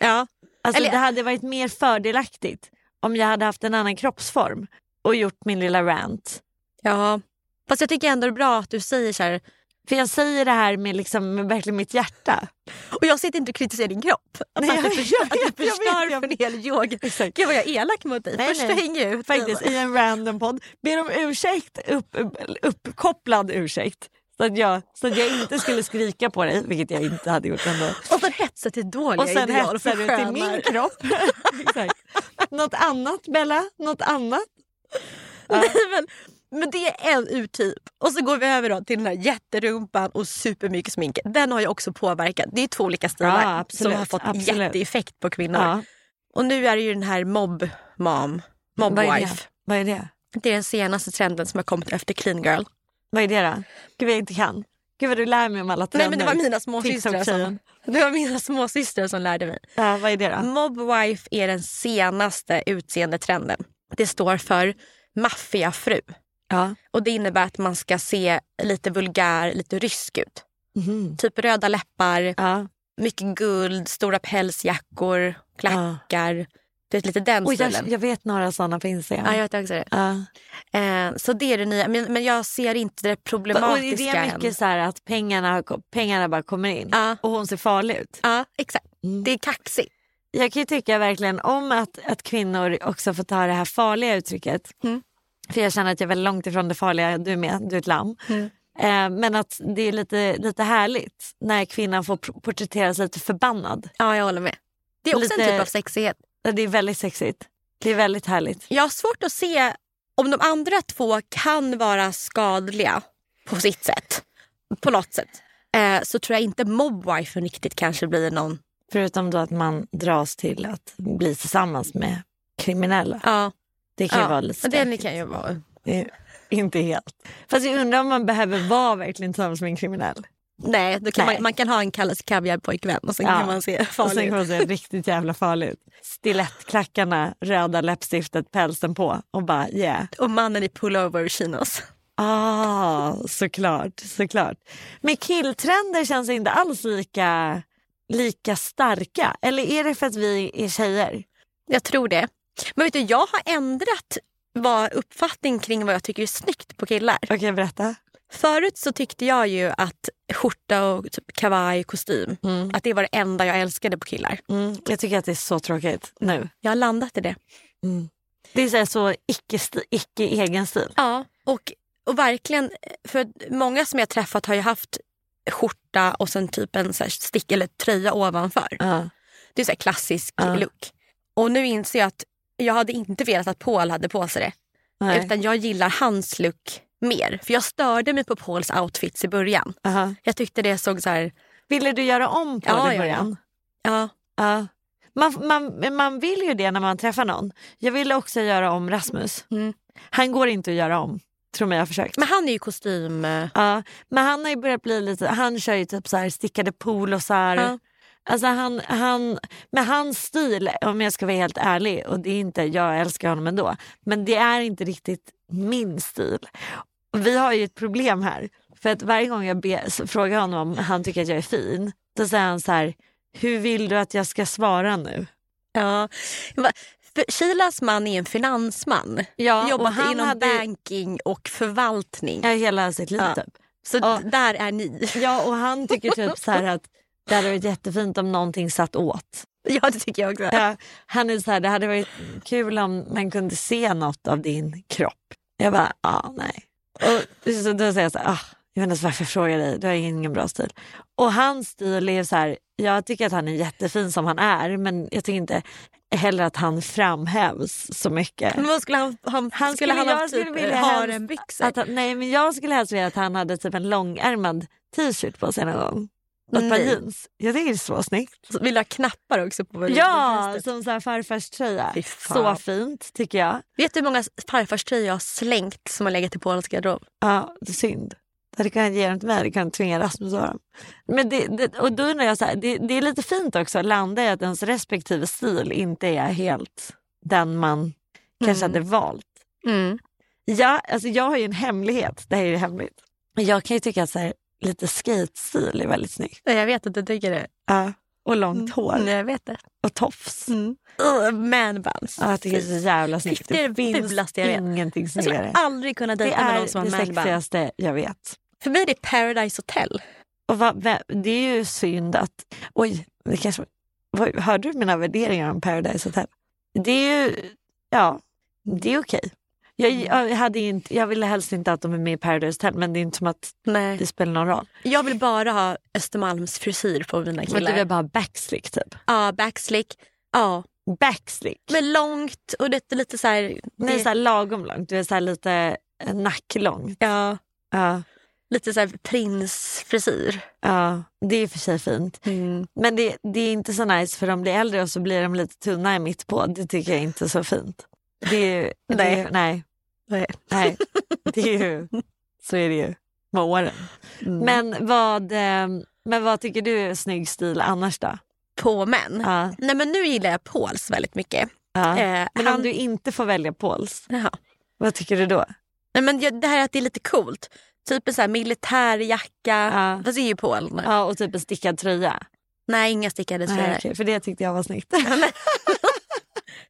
ja. Alltså, Eller- Det hade varit mer fördelaktigt om jag hade haft en annan kroppsform och gjort min lilla rant. ja. Fast jag tycker ändå det är bra att du säger så här. För jag säger det här med, liksom, med verkligen mitt hjärta. Och jag sitter inte och kritiserar din kropp. Att, Nej, att du jag- förstör, jag att du vet, jag förstör vet, jag för en vet. hel yoga. Exakt. Gud vad jag är elak mot dig. Nej, Först nej. hänger jag ut. Faktiskt, i en random podd. Ber om ursäkt, upp, uppkopplad ursäkt. Så att, jag, så att jag inte skulle skrika på dig, vilket jag inte hade gjort ändå. Och sen hetsar till dåliga Och sen ideal hetsar du till min kropp. Exakt. Något annat Bella, något annat. Nej, men, men det är en urtyp. Och så går vi över då till den här jätterumpan och supermycket smink. Den har ju också påverkat. Det är två olika stilar Ja, absolut, som har fått absolut. jätteeffekt på kvinnor. Ja. Och nu är det ju den här mob mom, mob Vad är wife. det? Vad är det? Det är den senaste trenden som har kommit efter clean girl. Vad är det då? Gud vad jag inte kan. Gud vad du lär mig om alla Nej trender. men det var mina småsystrar som, Mm. TikTok-tjejen. det var mina småsystrar som lärde mig. Ja, vad är det då? Mob wife är den senaste utseendetrenden. Det står för maffiafru. Ja. Och det innebär att man ska se lite vulgär, lite rysk ut. Mhm. Typ röda läppar, Ja. mycket guld, stora pälsjackor, klackar. Du vet lite den Och stilen. jag, jag vet några sådana på Instagram. Ja, jag vet också det. Ja. Eh, så det är det nya. Men, men jag ser inte det Och problematiska är det än. mycket så här att pengarna, pengarna bara kommer in Ja. och hon ser farlig ut? Ja, exakt. Mm. Det är kaxigt. Jag kan ju tycka verkligen om att, att kvinnor också får ta det här farliga uttrycket. Mm. För jag känner att jag är väldigt långt ifrån det farliga, du är med, du är ett lamm. Mm. Eh, men att det är lite, lite härligt när kvinnan får pr- porträtteras lite förbannad. Ja, jag håller med. Det är också en Lite- typ av sexighet. Det är väldigt sexigt. Det är väldigt härligt. Jag har svårt att se om de andra två kan vara skadliga på sitt sätt. På något sätt. Eh, så tror jag inte mobwifen riktigt kanske blir någon... Förutom då att man dras till att bli tillsammans med kriminella. Ja, Det kan ju vara ja. lite det stökigt. kan ju vara... Det är Inte helt. Fast jag undrar om man behöver vara verkligen tillsammans med en kriminell. Nej, då kan Nej. Man, man kan ha en Kalles kaviar-pojkvän och sen Ja. kan man se Och sen farlig kommer ut. hon se riktigt jävla farlig ut. Stilettklackarna, röda läppstiftet, pälsen på och bara yeah. Och mannen i pullover chinos. Ah, såklart, såklart. Men killtrender känns inte alls lika, lika starka. Eller är det för att vi är tjejer? Jag tror det. Men vet du, jag har ändrat vad uppfattning kring vad jag tycker är snyggt på killar. Okej, berätta. Förut så tyckte jag ju att skjorta och typ kavaj och kostym att det var det enda jag älskade på killar. Mm, jag tycker att det är så tråkigt nu. Jag har landat i det. Det är så, här, så icke, sti- icke egen stil. Ja. Och, och verkligen, för många som jag träffat har ju haft skjorta och sen typ en så här stick eller tröja ovanför. Ja. Det är så här klassisk look. Och nu inser jag att jag hade inte velat att Paul hade på sig det. Nej. Utan jag gillar hans look mer. För jag störde mig på Pauls outfits i början. Aha. Jag tyckte det såg så här... Ville du göra om på Ja, det i ja, ja. början? Ja, Ja. Man, man, men man vill ju det när man träffar någon. Jag ville också göra om Rasmus. Mm. Han går inte att göra om. Tror mig jag har försökt. men han är ju kostym... eh, Ja, men han har ju börjat bli lite, han kör ju typ så här stickade polosar. Ja. Alltså han, han, med hans stil, om jag ska vara helt ärlig, och det är inte, jag älskar honom ändå, men det är inte riktigt min stil. Vi har ju ett problem här, för att varje gång jag be, så frågar honom om han tycker att jag är fin, då säger han så här, hur vill du att jag ska svara nu? Ja. Va- För Shilas man är en finansman. Ja, och Jobbat han inom hade- banking och förvaltning. Ja, hela sitt liv Ja. typ. Så Ja. där är ni. Ja, och han tycker typ så här att det hade varit jättefint om någonting satt åt. Ja, det tycker jag också. Ja, han är så här, det hade varit kul om man kunde se något av din kropp. Jag bara, ja ah, nej. Och så då säger jag så här, ah, jag vet inte varför jag frågar dig, du har ingen bra stil. Och hans stil är ju så här, jag tycker att han är jättefin som han är, men jag tycker inte heller att han framhävs så mycket. Men vad skulle han, han, Han skulle han jag ha typ skulle vilja helst harenbyxor? att han- Nej men jag skulle helst vilja att han hade typ en långärmad t-shirt på sig någon gång. Ett par Nej. jeans. Jag tycker det är så snyggt. Så Vill du ha knappar också på Ja, bröstet? som så här farfars tröja. Fy fan. Så fint tycker jag. Vet du hur många farfarströjor jag har slängt som har legat i Polens garderob? Ja, det är synd. Det hade kunnat ge dem till mig, det kan tvinga Rasmus att ha dem. Men det, det, och då undrar jag, så här, det, det är lite fint också att landa i att ens respektive stil inte är helt den man kanske hade valt. Mm. Ja, alltså jag har ju en hemlighet, det här är ju hemligt. Jag kan ju tycka att så här, lite skatestil är väldigt snyggt. Nej, Jag vet att du tycker det. Ja, och långt Mm. hår Nej, Jag vet det. och tofs. Uh, man buns. Ja, jag tycker det är så jävla snyggt. Det är det fulaste jag vet. ingenting Jag skulle snyggare. aldrig kunna Det dejta med någon som har är det man bun. sexigaste jag vet. För mig är det Paradise Hotel. Och vad, vem- det är ju synd att... Oj, det kanske, vad, hörde du mina värderingar om Paradise Hotel? Det är ju... Ja, det är okej. Jag, Mm. jag, hade inte, jag ville helst inte att de är med i Paradise Hotel men det är inte som att Nej. det spelar någon roll. Jag vill bara ha Östermalms frisyr på mina Men killar. du vill bara ha backslick typ? Ja, backslick. Ja, Backslick? men långt och det är lite så här... Nej, så här lagom långt. Du är så här lite eh, nacklångt. Ja, Ja, lite så här prinsfrisyr. ja, det är i och för sig fint. Mm. Men det, det är inte så nice för de blir äldre och så blir de lite tunna i mitt på. Det tycker jag inte är så fint. Det är, ju- det är, ju- nej. Nej. Nej, det är ju, så är det Mm. ju med åren. Men, vad, eh, men vad tycker du är snygg stil annars då? På män. Ja. Nej, men nu gillar jag Pauls väldigt mycket. Ja. Eh, men han- om du inte får välja Pauls, Jaha. vad tycker du då? Nej, men jag- det här att det är lite coolt. Typ en så här militärjacka. Ja. Fast det är ju Polen. Ja, och typ en stickad tröja. Nej, inga stickade tröjor. Nej, okej, för det tyckte jag var snyggt.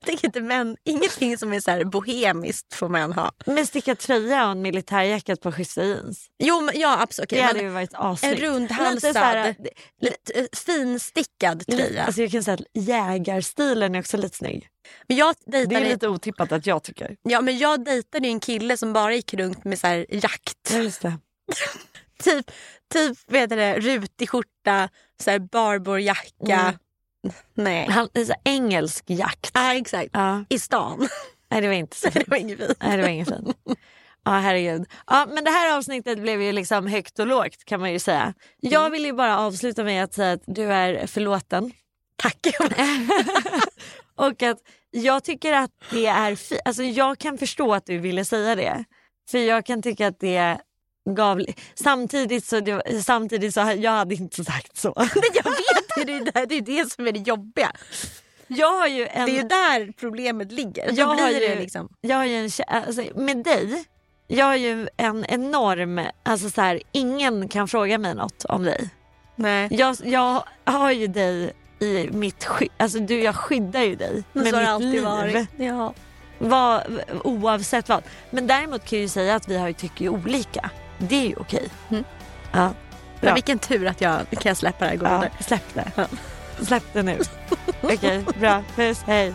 Tänk inte män. Ingenting som är så här bohemiskt får män ha. men stickad tröja och en militärjacka och ett par schyssta jeans. Jo, men, ja absolut. det okej, hade men ju varit en assnyggt. Lite så här, rundhalsad, det- lite, eh, finstickad lite- tröja. Alltså jag kan säga att jägarstilen är också lite snygg. men jag Det är dejtade, lite otippat att jag tycker. ja, men jag dejtade ju en kille som bara gick runt med så här jakt. Ja, just det. Typ, typ vad heter det, rutig skjorta, så här barborjacka. Mm. Nej. Han, alltså, engelsk jakt. Ja, exakt. Ja. I stan. Nej, det var inte så det var inget fint. Nej, det var inget fint. Ja, herregud. Ja, men det här avsnittet blev ju liksom högt och lågt kan man ju säga. Mm. Jag vill ju bara avsluta med att säga att du är förlåten. Tack. och att jag tycker att det är fi- Alltså jag kan förstå att du ville säga det. För jag kan tycka att det gav... Samtidigt så, det, samtidigt så jag hade inte sagt så. jag vet det, är det, där, det är det som är det jobbiga. Jag har ju en... Det är ju där problemet ligger. Då Jag har blir det ju- liksom... jag har ju en, kä- alltså, med dig, jag har ju en enorm, alltså så här, ingen kan fråga mig något om dig. Nej. Jag, jag har ju dig i mitt skydd, alltså du, jag skyddar ju dig Men med så har det mitt alltid liv. varit. Ja. Vad, oavsett vad. Men däremot kan jag ju säga att vi har ju tycker ju olika. Det är ju okej. Ja, Men Bra. vilken tur att jag kan jag släppa det här och gå ja, vidare. släpp det. Släpp det nu. Okej, bra. Puss, hej.